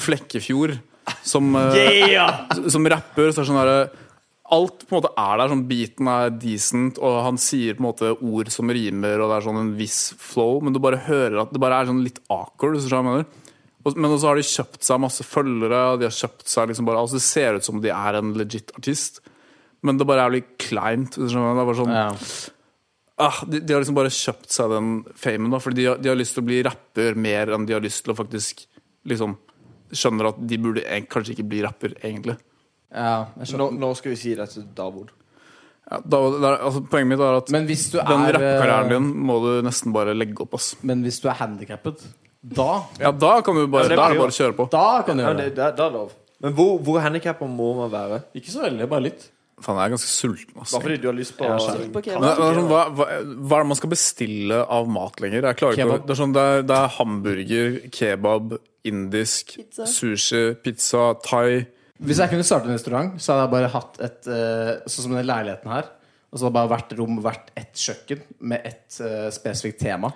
Speaker 3: Flekkefjord. Som eh, som rapper så er det sånn der, Alt på en måte er der. Sånn Beaten er decent, og han sier på en måte ord som rimer, og det er sånn en viss flow, men du bare hører at det bare er sånn litt awkward. Hvis du skjønner hva jeg mener. Og, men også har de kjøpt seg masse følgere, og de har kjøpt seg liksom bare Altså Det ser ut som de er en legit artist, men det bare er litt kleint. Hvis du skjønner hva jeg mener. Det er bare sånn
Speaker 1: Ja.
Speaker 3: ah, de, de har liksom bare kjøpt seg den famen, da, fordi de har, de har lyst til å bli rapper mer enn de har lyst til å faktisk liksom skjønner at de burde eh, kanskje ikke bli rapper, egentlig.
Speaker 1: ja jeg skjønner.
Speaker 2: Nå, nå skal vi si det til Davod.
Speaker 3: Ja, da, da, altså, poenget mitt er at
Speaker 1: Men hvis du
Speaker 3: den
Speaker 1: er
Speaker 3: rappekarrieren
Speaker 1: eh,
Speaker 3: din må du nesten bare legge opp. Ass.
Speaker 1: Men hvis du er handikappet, da,
Speaker 3: Ja, da kan du bare,
Speaker 2: Ja, det
Speaker 3: da
Speaker 2: blir
Speaker 3: er det
Speaker 2: jo-
Speaker 3: bare å kjøre på.
Speaker 1: da kan du
Speaker 2: Ja,
Speaker 1: gjøre
Speaker 2: men
Speaker 1: det.
Speaker 2: det, det, det er lov. Men hvor, hvor handikappa må man være?
Speaker 1: Ikke så veldig, bare litt.
Speaker 3: Faen, jeg er ganske sulten. Ass.
Speaker 2: Bare fordi
Speaker 3: Men,
Speaker 2: du har lyst på
Speaker 1: Ja, skjønner.
Speaker 4: På
Speaker 3: det
Speaker 4: kebab.
Speaker 3: er sånn, hva, hva, hva er det man skal bestille av mat lenger? Jeg klarer ikke å-
Speaker 1: Kebab.
Speaker 3: det, er sånn, det, er, det er hamburger, kebab, indisk,
Speaker 4: Pizza.
Speaker 3: sushi, pizza, thai.
Speaker 1: Hvis jeg kunne starte en restaurant, så hadde jeg bare hatt et eh, Sånn som den leiligheten her. Og så hadde det bare hvert rom vært ett kjøkken med ett eh, spesifikt tema.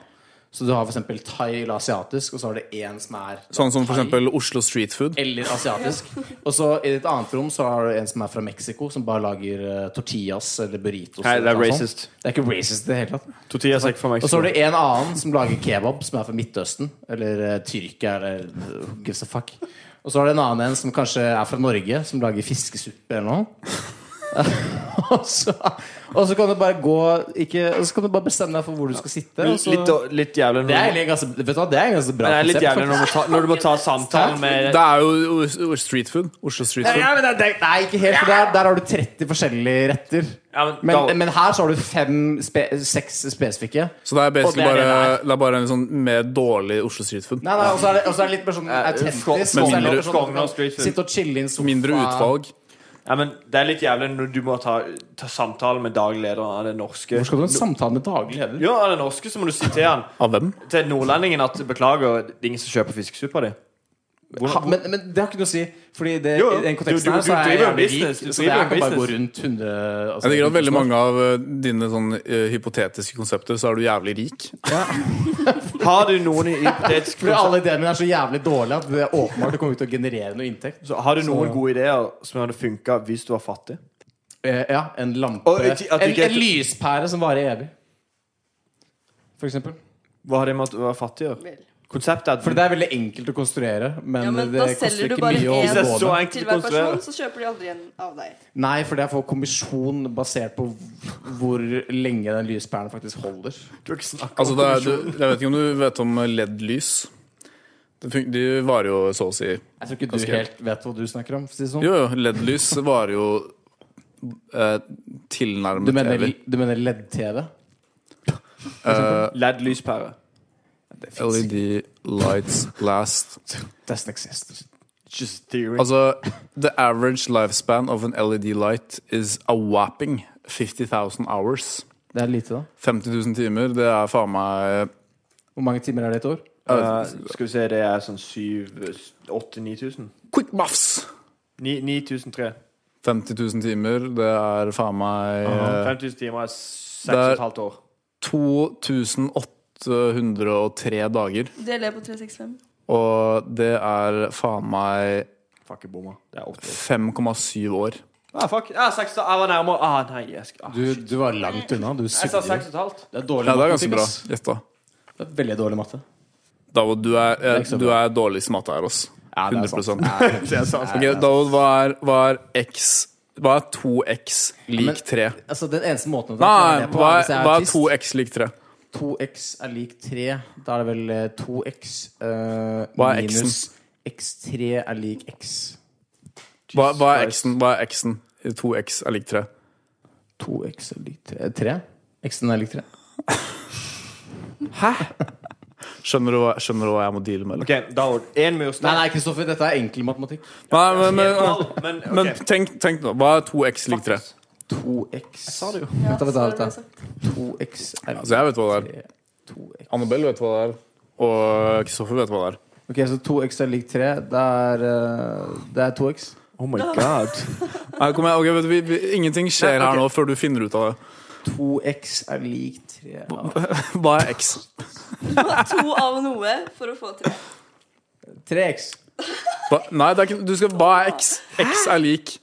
Speaker 1: Så du har for eksempel thai eller asiatisk, og så har du én som er
Speaker 3: Sånn som for
Speaker 1: thai
Speaker 3: eksempel Oslo Street Food.
Speaker 1: Eller asiatisk. Og så i et annet rom så har du en som er fra Mexico, som bare lager eh, tortillas eller burritos.
Speaker 2: Hei, det er
Speaker 1: eller noe sånt.
Speaker 2: racist.
Speaker 1: Det er ikke racist i det hele tatt.
Speaker 2: Tortillas er ikke for meg.
Speaker 1: Og så har du en annen som lager kebab, som er fra Midtøsten. Eller eh, Tyrkia, eller who gives a fuck. Og så har du en annen en som kanskje er fra Norge, som lager fiskesuppe eller noe. og, så, og så kan du bare gå ikke, og Så kan du bare bestemme deg for hvor du skal sitte. Og så,
Speaker 2: Litt, litt jævlig
Speaker 1: det er
Speaker 2: når,
Speaker 1: egentlig ganske, vet du hva, det er ganske bra
Speaker 2: det er litt
Speaker 1: konsept,
Speaker 2: jævlig når, du må ta, når du må ta samtalen med
Speaker 3: Det er jo Os- Os- Street Food. Oslo Street
Speaker 1: Ja,
Speaker 3: Food.
Speaker 1: men det, det, nei, ikke helt, for der, der har du 30 forskjellige retter.
Speaker 2: Ja, men
Speaker 1: men,
Speaker 2: da-
Speaker 1: men her så har du fem spe, seks spesifikke.
Speaker 3: Så det er basically
Speaker 1: Og det er det
Speaker 3: bare,
Speaker 1: det
Speaker 3: det er bare en sånn mer dårlig Oslo Street Food.
Speaker 1: Nei, nei, Og så er det, og så er det litt mer sånn
Speaker 2: Eh,
Speaker 1: autentisk.
Speaker 2: skål-
Speaker 1: og så er det
Speaker 3: mindre-
Speaker 1: litt sånn at du
Speaker 2: skål og
Speaker 1: kan
Speaker 2: street food.
Speaker 1: Sitte og chille i en sofa.
Speaker 3: Mindre utvalg.
Speaker 2: ja, men Det er litt jævlig når du må ta, ta samtalen med daglederen av det norske.
Speaker 1: Hvor skal du ha en samtale med daglig leder?
Speaker 2: Ja, av det norske så må du si til han
Speaker 3: Av hvem?
Speaker 2: Til nordlendingen at beklager, det er ingen som kjøper fiskesuppa di.
Speaker 1: Ha, men, men det har ikke noe å si. Fordi det,
Speaker 2: Jo, jo.
Speaker 1: i den
Speaker 2: Du-
Speaker 1: konteksten
Speaker 2: du-
Speaker 1: her så
Speaker 2: du
Speaker 1: er
Speaker 2: driver
Speaker 1: jeg
Speaker 2: en
Speaker 1: jævlig
Speaker 2: business.
Speaker 1: rik.
Speaker 2: Du
Speaker 1: Så det
Speaker 2: driver
Speaker 1: her
Speaker 2: en
Speaker 1: kan bare gå
Speaker 2: business.
Speaker 1: rundt 100 altså,
Speaker 3: Jeg tenker at
Speaker 1: 1000
Speaker 3: Veldig
Speaker 1: år.
Speaker 3: mange av eh, dine sånn eh, hypotetiske konsepter, så er du jævlig rik.
Speaker 2: Har du noen hypotetiske
Speaker 1: Fordi alle ideene mine er så jævlig dårlige at det er åpenbart det kommer ut til å generere noe inntekt.
Speaker 2: Så har du noen gode ideer som hadde funka hvis du var fattig?
Speaker 1: Eh, ja, en lampe
Speaker 2: Og at- at du
Speaker 1: en,
Speaker 2: ikke-
Speaker 1: en lyspære som varer evig. For eksempel.
Speaker 2: Hva har det med at du var fattig å gjøre?
Speaker 4: Vel.
Speaker 2: Konseptet er at
Speaker 1: For det er veldig enkelt å konstruere, men,
Speaker 4: Ja, men da
Speaker 1: det
Speaker 4: selger
Speaker 1: koster
Speaker 4: du
Speaker 1: ikke
Speaker 4: bare
Speaker 1: mye å
Speaker 4: en-
Speaker 2: Hvis det er så
Speaker 1: overgå det.
Speaker 2: enkelt
Speaker 4: Til
Speaker 2: å
Speaker 4: hver
Speaker 2: konstruere
Speaker 4: person så kjøper de aldri en av deg.
Speaker 1: Nei, for jeg får kommisjon basert på hvor lenge den lyspæren faktisk holder.
Speaker 2: Du har ikke snakket
Speaker 3: Altså,
Speaker 2: om
Speaker 3: det er,
Speaker 2: kommisjon.
Speaker 3: du, jeg vet ikke om du vet om eh, LED-lys. Det fun- De varer jo så å si
Speaker 1: Jeg tror ikke du
Speaker 3: Ganske.
Speaker 1: helt vet hva du snakker om. for å Si det sånn.
Speaker 3: Jo, jo, LED-lys varer jo eh, tilnærmet
Speaker 1: Du mener,
Speaker 3: evig.
Speaker 1: du mener LED-TV?
Speaker 3: Eh,
Speaker 2: LED lyspære.
Speaker 3: LED E lights last
Speaker 1: Nesten exister.
Speaker 2: Just theory.
Speaker 3: Altså, the average lifespan of an LED light is a whopping 50,000 hours.
Speaker 1: Det er lite, da.
Speaker 3: 50 000 timer, det er faen meg
Speaker 1: Hvor mange timer er det i et år?
Speaker 2: Eh, skal vi se, det er sånn 7000-8000-9000.
Speaker 3: Quick maths!
Speaker 2: 9003.
Speaker 3: 50 000 timer, det er faen meg eh,
Speaker 2: 5000 timer er seks
Speaker 3: Det er-
Speaker 2: og et halvt år.
Speaker 3: 2803 dager.
Speaker 4: Det ler på 365.
Speaker 3: Og det er faen meg
Speaker 2: Fuck, jeg bomma. Det er 80.
Speaker 3: 5,7 år.
Speaker 2: Ah, fuck. Ah, seks, jeg var nærmere. Ah, nei, jeg, skal- ah,
Speaker 1: Du, du var langt unna. Du
Speaker 2: jeg sa
Speaker 1: sugde.
Speaker 2: seks og et halvt.
Speaker 1: Det er dårlig
Speaker 3: Ja, det er ganske
Speaker 1: matematikk,
Speaker 3: bra.
Speaker 1: ass.
Speaker 3: Gjett, da.
Speaker 1: Det er veldig dårlig matte.
Speaker 3: Davod, du er, eh,
Speaker 1: ikke så
Speaker 3: du er dårligst i matte her, altså.
Speaker 1: Ja, det er sant.
Speaker 3: 100
Speaker 2: Det er sant.
Speaker 3: Ok, Davod, hva er, hva er x Hva er 2x
Speaker 1: men-
Speaker 3: lik 3?
Speaker 1: Altså, Den eneste måten å forklare
Speaker 3: Nei,
Speaker 1: det på
Speaker 3: hva
Speaker 1: er hvis
Speaker 3: er,
Speaker 1: jeg er
Speaker 3: hva er
Speaker 1: autist.
Speaker 3: 2x lik 3?
Speaker 1: 2x er lik 3. Da er det vel eh, 2x eh,
Speaker 3: Hva er
Speaker 1: minus x3 er lik x.
Speaker 3: Hva, hva er
Speaker 2: Jesus
Speaker 3: x-en? Hva er x-en? 2x er lik 3.
Speaker 1: 2x er lik 3. 3? X-en er lik 3.
Speaker 3: Skjønner du hva, skjønner du hva jeg må deale med? Eller?
Speaker 2: OK, Daud. Én
Speaker 1: Nei,
Speaker 2: murstein.
Speaker 1: nei, Kristoffer, dette er enkel matematikk.
Speaker 3: Nei, men, men,
Speaker 2: Tall, Men, ok.
Speaker 3: men tenk, tenk nå. Hva er 2x lik 3?
Speaker 1: 2x Jeg
Speaker 2: sa det jo.
Speaker 4: Ja,
Speaker 1: Vent, da,
Speaker 4: så
Speaker 1: vent, da,
Speaker 4: det
Speaker 1: vent.
Speaker 4: ble sagt.
Speaker 1: da. 2x er
Speaker 3: Altså, jeg vet hva det er.
Speaker 1: 3. 2x.
Speaker 3: Annabelle vet hva det er. Og Kristoffer vet hva det er.
Speaker 1: Ok, Så 2x er lik 3. Det er, eh, det er 2x.
Speaker 2: Oh my god.
Speaker 3: Nei, kom igjen, ok, vet du, vi, vi, ingenting skjer her nå før du finner ut av det.
Speaker 1: 2x er lik 3 av
Speaker 3: Hva er x?
Speaker 4: To av noe for å få tre.
Speaker 1: 3x.
Speaker 3: Hva, nei, det er ikke, du skal, hva er x? X er lik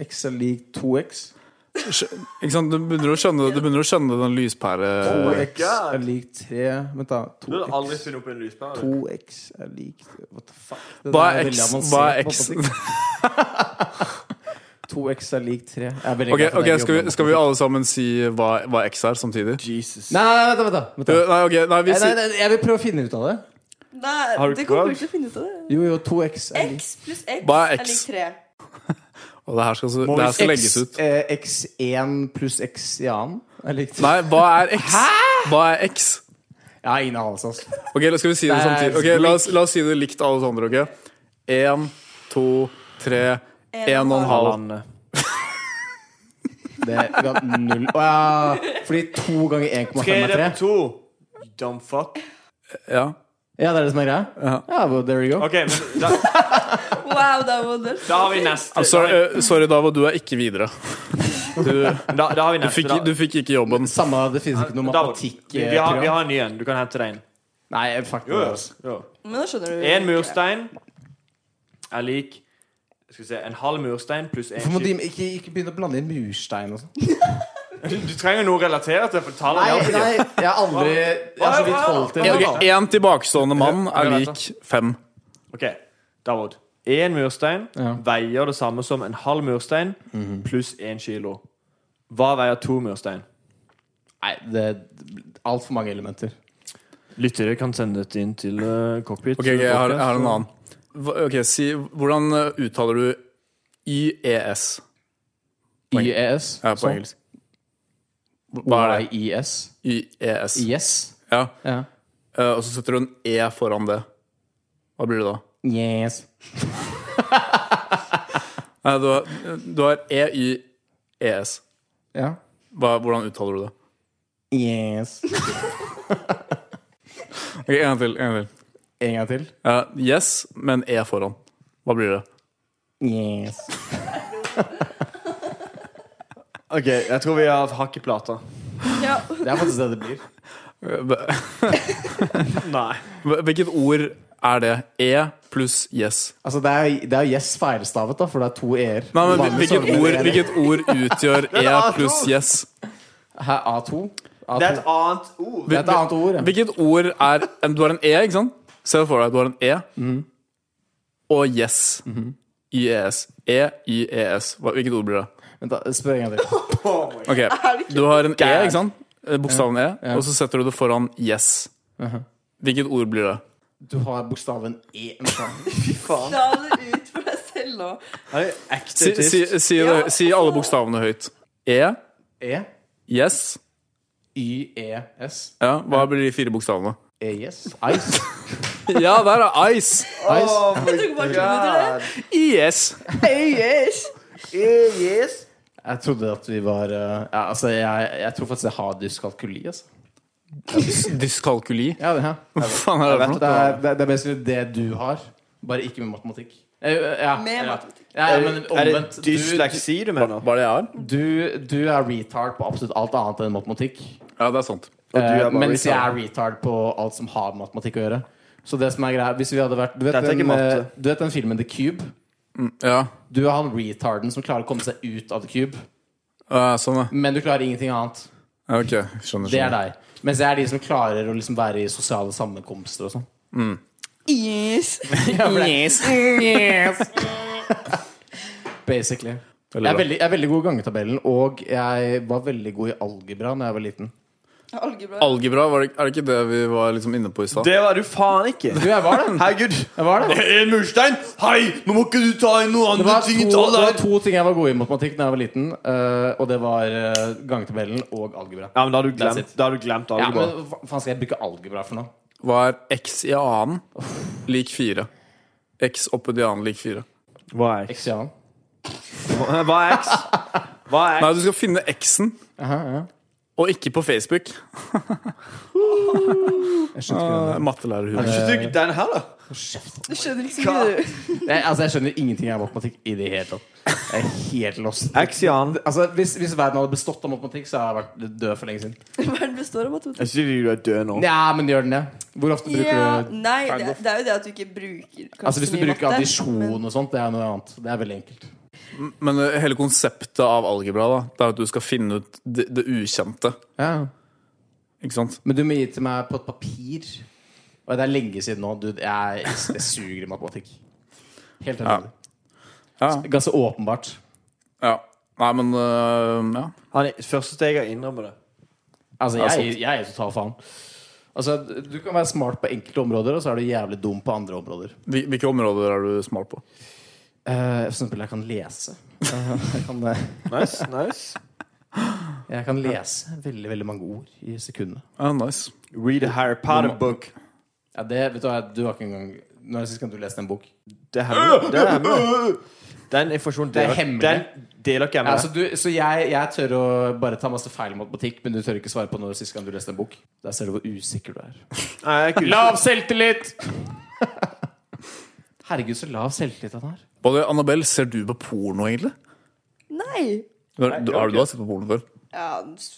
Speaker 1: X er lik 2x.
Speaker 3: Skjø- Ikke sant? Du begynner å skjønne, du begynner å skjønne den lyspære
Speaker 1: 2x
Speaker 2: God.
Speaker 1: er lik 3 Vent, da.
Speaker 2: Du hadde
Speaker 1: 2x
Speaker 2: aldri funnet opp en lyspære.
Speaker 1: 2x er lik What the fuck? Det
Speaker 3: Hva
Speaker 1: der
Speaker 3: er
Speaker 1: veldig
Speaker 3: x?
Speaker 1: avansert
Speaker 3: Hva er x?
Speaker 1: matematikk. 2x er lik 3. Jeg er veldig
Speaker 3: Ok,
Speaker 1: glad for at
Speaker 3: ok,
Speaker 1: jeg
Speaker 3: skal,
Speaker 1: jobber
Speaker 3: vi,
Speaker 1: med
Speaker 3: skal vi
Speaker 1: matematikk.
Speaker 3: alle sammen si hva, hva x er, samtidig?
Speaker 2: Jesus.
Speaker 1: Nei, nei, nei, vent, da, vent, da. Vent da.
Speaker 3: Jo, Nei, ok, nei, vi
Speaker 1: Nei, nei,
Speaker 3: sier
Speaker 1: nei, jeg vil prøve å finne ut av det.
Speaker 4: Nei,
Speaker 2: Har du
Speaker 4: det
Speaker 2: prøvd?
Speaker 4: kommer du ikke til å finne ut av det.
Speaker 1: Jo, jo, 2x er lik
Speaker 4: X pluss X,
Speaker 3: Hva er
Speaker 4: er
Speaker 3: X?
Speaker 4: lik tre.
Speaker 3: Og det her skal, så-
Speaker 2: Må
Speaker 3: det
Speaker 2: vi
Speaker 3: her
Speaker 1: X,
Speaker 3: skal legges ut.
Speaker 1: eh, X1 pluss X i annen er likt.
Speaker 3: Nei, hva er x? Hva er x?
Speaker 1: Jeg har ingen anelse, altså.
Speaker 3: Ok, la- skal vi si det
Speaker 1: Det er
Speaker 3: samtidig? Ok, la, oss, la oss si det likt alle oss andre, ok? En, to, tre, en og en halv.
Speaker 2: Halvandet.
Speaker 1: Det ga null Å ja, fordi to ganger 1,5
Speaker 2: Tre
Speaker 1: er
Speaker 2: det
Speaker 1: tre?
Speaker 2: på to. You Dumb fuck.
Speaker 3: Ja.
Speaker 1: Ja, det er det som er greia? Ja, well, there you go.
Speaker 2: OK, men da,
Speaker 4: Wow, da var det
Speaker 2: da har vi neste.
Speaker 3: Sorry, eh, sorry Davo, du er ikke videre. Du,
Speaker 2: Da, da har vi
Speaker 3: du,
Speaker 2: neste.
Speaker 3: fikk,
Speaker 2: da,
Speaker 3: du fikk ikke jobben.
Speaker 1: Samme, det finnes ikke noe
Speaker 2: David, vi, vi, har, vi
Speaker 1: matematikk-program.
Speaker 3: eh,
Speaker 2: har en ny en. Du kan hente deg en.
Speaker 1: Nei, fuck det. altså.
Speaker 4: Men da skjønner du
Speaker 2: En murstein er lik skal vi se, en halv murstein pluss en
Speaker 1: Hvorfor må de
Speaker 2: skip.
Speaker 1: ikke, ikke begynne å blande inn murstein og sånn?
Speaker 2: Du trenger noe relatert til for tallene. er alltid-
Speaker 1: jeg har aldri Jeg har så vidt holdt i
Speaker 2: Ja,
Speaker 1: det.
Speaker 2: ok.
Speaker 3: Ok, Én tilbakestående mann er lik fem.
Speaker 2: Ok, David. Én murstein
Speaker 1: Ja.
Speaker 2: veier det samme som en halv murstein
Speaker 3: Mhm.
Speaker 2: pluss én kilo. Hva veier to murstein?
Speaker 1: Nei, det er altfor mange elementer.
Speaker 2: Lyttere kan sende dette inn til uh, cockpit.
Speaker 3: Ok, ok, jeg, har, jeg har en annen. Hva- Ok, si, Hvordan eh, uttaler du E YES Poeng.
Speaker 1: YES.
Speaker 3: ja, på
Speaker 1: sånn.
Speaker 3: engelsk? Hva er det?
Speaker 1: YES.
Speaker 3: YES.
Speaker 1: Yes.
Speaker 3: Ja.
Speaker 1: E Ja.
Speaker 3: eh, Og så setter du en E foran det. Hva blir det da?
Speaker 1: Yes.
Speaker 3: Nei, du har, du har E EYES.
Speaker 1: Ja.
Speaker 3: Hva- Hvordan uttaler du det?
Speaker 1: Yes.
Speaker 3: Ok, En gang til. En gang til.
Speaker 1: En gang til.
Speaker 3: Eh, yes, men E foran. Hva blir det?
Speaker 1: Yes.
Speaker 2: Ok, Jeg tror vi har hakk i plata.
Speaker 4: Ja.
Speaker 1: Det er faktisk det det blir.
Speaker 3: Eh, hva-
Speaker 2: Nei.
Speaker 3: Hvilket ord er det? E pluss yes.
Speaker 1: Altså, det er, det er yes feilstavet, da, for det er to e-er.
Speaker 3: Nei, men
Speaker 1: Vanlig
Speaker 3: hvilket
Speaker 1: sånn-
Speaker 3: ord, hvilket ord utgjør E pluss yes?
Speaker 1: Hæ, A2? A2.
Speaker 2: Det er et annet ord.
Speaker 1: Det er et annet ord. ja.
Speaker 3: Hvilket ord er en- Du har en E, ikke sant? Se for deg at du har en E.
Speaker 1: Mhm.
Speaker 3: Og yes. E YES. E-YES. E Hva- Hvilket ord blir det?
Speaker 1: Vent, da. Spør en gang til.
Speaker 3: Ok,
Speaker 4: ikke
Speaker 3: Du har en E, ikke sant? Eh, Bokstaven E,
Speaker 1: Ja.
Speaker 3: og så setter du det foran yes. Hvilket ord blir det?
Speaker 1: Du har bokstaven E. Vent da.
Speaker 4: La det ut for deg selv nå.
Speaker 2: Er det ekte
Speaker 3: Si,
Speaker 2: tyst?
Speaker 3: si, si, det, si alle bokstavene høyt. E,
Speaker 1: E.
Speaker 3: yes.
Speaker 1: Y-E-S.
Speaker 3: Ja, hva blir de fire bokstavene?
Speaker 1: E-yes. E, Ice.
Speaker 3: Ja, der er ice!
Speaker 1: Ice.
Speaker 2: Oh
Speaker 4: Jeg tok bare to minutter.
Speaker 3: IS.
Speaker 4: Hey, yes.
Speaker 2: Eh,
Speaker 1: Jeg trodde at vi var eh, ja, Altså, jeg, jeg tror faktisk jeg har dyskalkuli, altså.
Speaker 3: Dyskalkuli.
Speaker 1: Ja, det her.
Speaker 3: Hva faen er det for noe?
Speaker 1: Det er, det, det er basically det du har, bare ikke med matematikk. Eh, Ja,
Speaker 4: Med
Speaker 1: ja.
Speaker 4: matematikk.
Speaker 1: Ja, ja, men
Speaker 2: er det
Speaker 1: omvendt. Du,
Speaker 2: dysleksi du mener?
Speaker 3: Hva er det jeg har?
Speaker 1: du, du er retard på absolutt alt annet enn matematikk.
Speaker 3: Ja, det er sant.
Speaker 2: du er
Speaker 1: Eh,
Speaker 2: bare
Speaker 1: mens jeg er
Speaker 2: retard.
Speaker 1: retard på alt som har med matematikk å gjøre. Så det som er greia Hvis vi hadde vært Du vet,
Speaker 2: Dette er ikke
Speaker 1: den, eh,
Speaker 2: matte.
Speaker 1: du vet den filmen The Cube?
Speaker 3: Mm, Ja,
Speaker 1: Du er han retarden som klarer å komme seg ut av The Cube,
Speaker 3: eh, sånn ja.
Speaker 1: men du klarer ingenting annet.
Speaker 3: Ja, Ok, skjønner.
Speaker 1: Det er
Speaker 3: skjønner.
Speaker 1: deg. Mens jeg er de som klarer å liksom være i sosiale sammenkomster og sånn.
Speaker 4: Yes.
Speaker 1: Basically. Jeg
Speaker 3: Veldig
Speaker 1: er,
Speaker 3: bra.
Speaker 1: veldig, jeg er veldig god i gangetabellen, og jeg var veldig god i algebra da jeg var liten.
Speaker 4: Algebra.
Speaker 3: Algebra, var det, er det ikke det vi var liksom inne på i stad?
Speaker 2: Det var du faen ikke.
Speaker 1: Du, jeg var det.
Speaker 2: Herregud.
Speaker 1: Jeg var det.
Speaker 2: En Eh, murstein? Hei, nå må ikke du ta inn noe
Speaker 1: Det
Speaker 2: annet
Speaker 1: var, to,
Speaker 2: ting i
Speaker 1: det var
Speaker 2: tallet her.
Speaker 1: to ting jeg var god i i matematikk da jeg var liten, eh, og det var eh, gangetabellen og algebra.
Speaker 2: Ja, men da har du
Speaker 1: That's
Speaker 2: glemt,
Speaker 1: it.
Speaker 2: da har du glemt
Speaker 1: Ja,
Speaker 2: algebra.
Speaker 1: men hva faen skal jeg bruke algebra for nå?
Speaker 3: Var x i annen lik fire? X oppi de annen lik fire.
Speaker 2: Hva er x?
Speaker 1: Eksian.
Speaker 2: Hva er x? Hva er
Speaker 3: Nei,
Speaker 2: x?
Speaker 3: du skal finne x-en, og ikke på Facebook.
Speaker 1: Jeg skjønte
Speaker 4: Ah.
Speaker 1: ikke det.
Speaker 3: Mattelærerhuset.
Speaker 2: Synes du ikke den her, da?
Speaker 4: Du skjønner ikke så mye, du.
Speaker 1: Nei, altså, jeg skjønner ingenting av matematikk i det hele tatt. Jeg er helt lost.
Speaker 2: X i annen.
Speaker 1: Altså, hvis, hvis verden hadde bestått av matematikk, så hadde jeg vært død for lenge siden.
Speaker 4: Verden består av matematikk.
Speaker 2: Jeg synes ikke du er død nå.
Speaker 1: Ja, men gjør den det? Hvor ofte bruker
Speaker 4: Ja,
Speaker 1: du
Speaker 4: nei, det, det er jo det at du ikke bruker kanskje
Speaker 1: Altså Hvis
Speaker 4: så
Speaker 1: du
Speaker 4: mye
Speaker 1: bruker
Speaker 4: matte, men-
Speaker 1: addisjon og sånt, det er noe annet. Det er veldig enkelt.
Speaker 3: Men eh, hele konseptet av algebra da, det er at du skal finne ut det, det ukjente. Ikke sant?
Speaker 1: Men du må gi til meg på et papir. Og det er lenge siden nå. Du, jeg, jeg suger i matematikk. Helt enig.
Speaker 3: Ja.
Speaker 1: Ganske åpenbart.
Speaker 3: Ja. Nei, men eh, ja.
Speaker 2: Han, første steg er å innrømme det.
Speaker 1: Altså,
Speaker 3: Ja,
Speaker 1: jeg, jeg er total faen. Altså, du kan være smart på enkelte områder, og så er du jævlig dum på andre områder.
Speaker 3: Hvil- Hvilke områder er du smart på?
Speaker 1: Eh, for eksempel, jeg kan lese. Eh, jeg, kan, eh,
Speaker 2: Nice, nice.
Speaker 1: jeg kan lese veldig veldig mange ord i sekundet.
Speaker 3: Ja, nice.
Speaker 2: Read a Harry Potter book.
Speaker 1: Ja, det vet Du hva, du har ikke engang Når sist kan du lese en bok?
Speaker 2: Det er hemmelig. Det er hemmelig. Den informasjonen
Speaker 1: Det er
Speaker 2: deler,
Speaker 1: hemmelig.
Speaker 2: den deler ikke
Speaker 1: Ja,
Speaker 2: jeg med
Speaker 1: så
Speaker 2: deg.
Speaker 1: du, så jeg, jeg tør å bare ta masse feil i matematikk, men du tør ikke svare på når sist gang du leste en bok. Der ser du hvor usikker du er.
Speaker 2: Nei, jeg er ikke
Speaker 1: Lav selvtillit! Herregud, så lav selvtillit han har.
Speaker 3: Både Annabelle, ser du på porno, egentlig?
Speaker 4: Nei!
Speaker 3: Du har,
Speaker 2: Nei, det
Speaker 3: du,
Speaker 2: var ikke-
Speaker 3: har du da sett på porno før?
Speaker 4: Ja,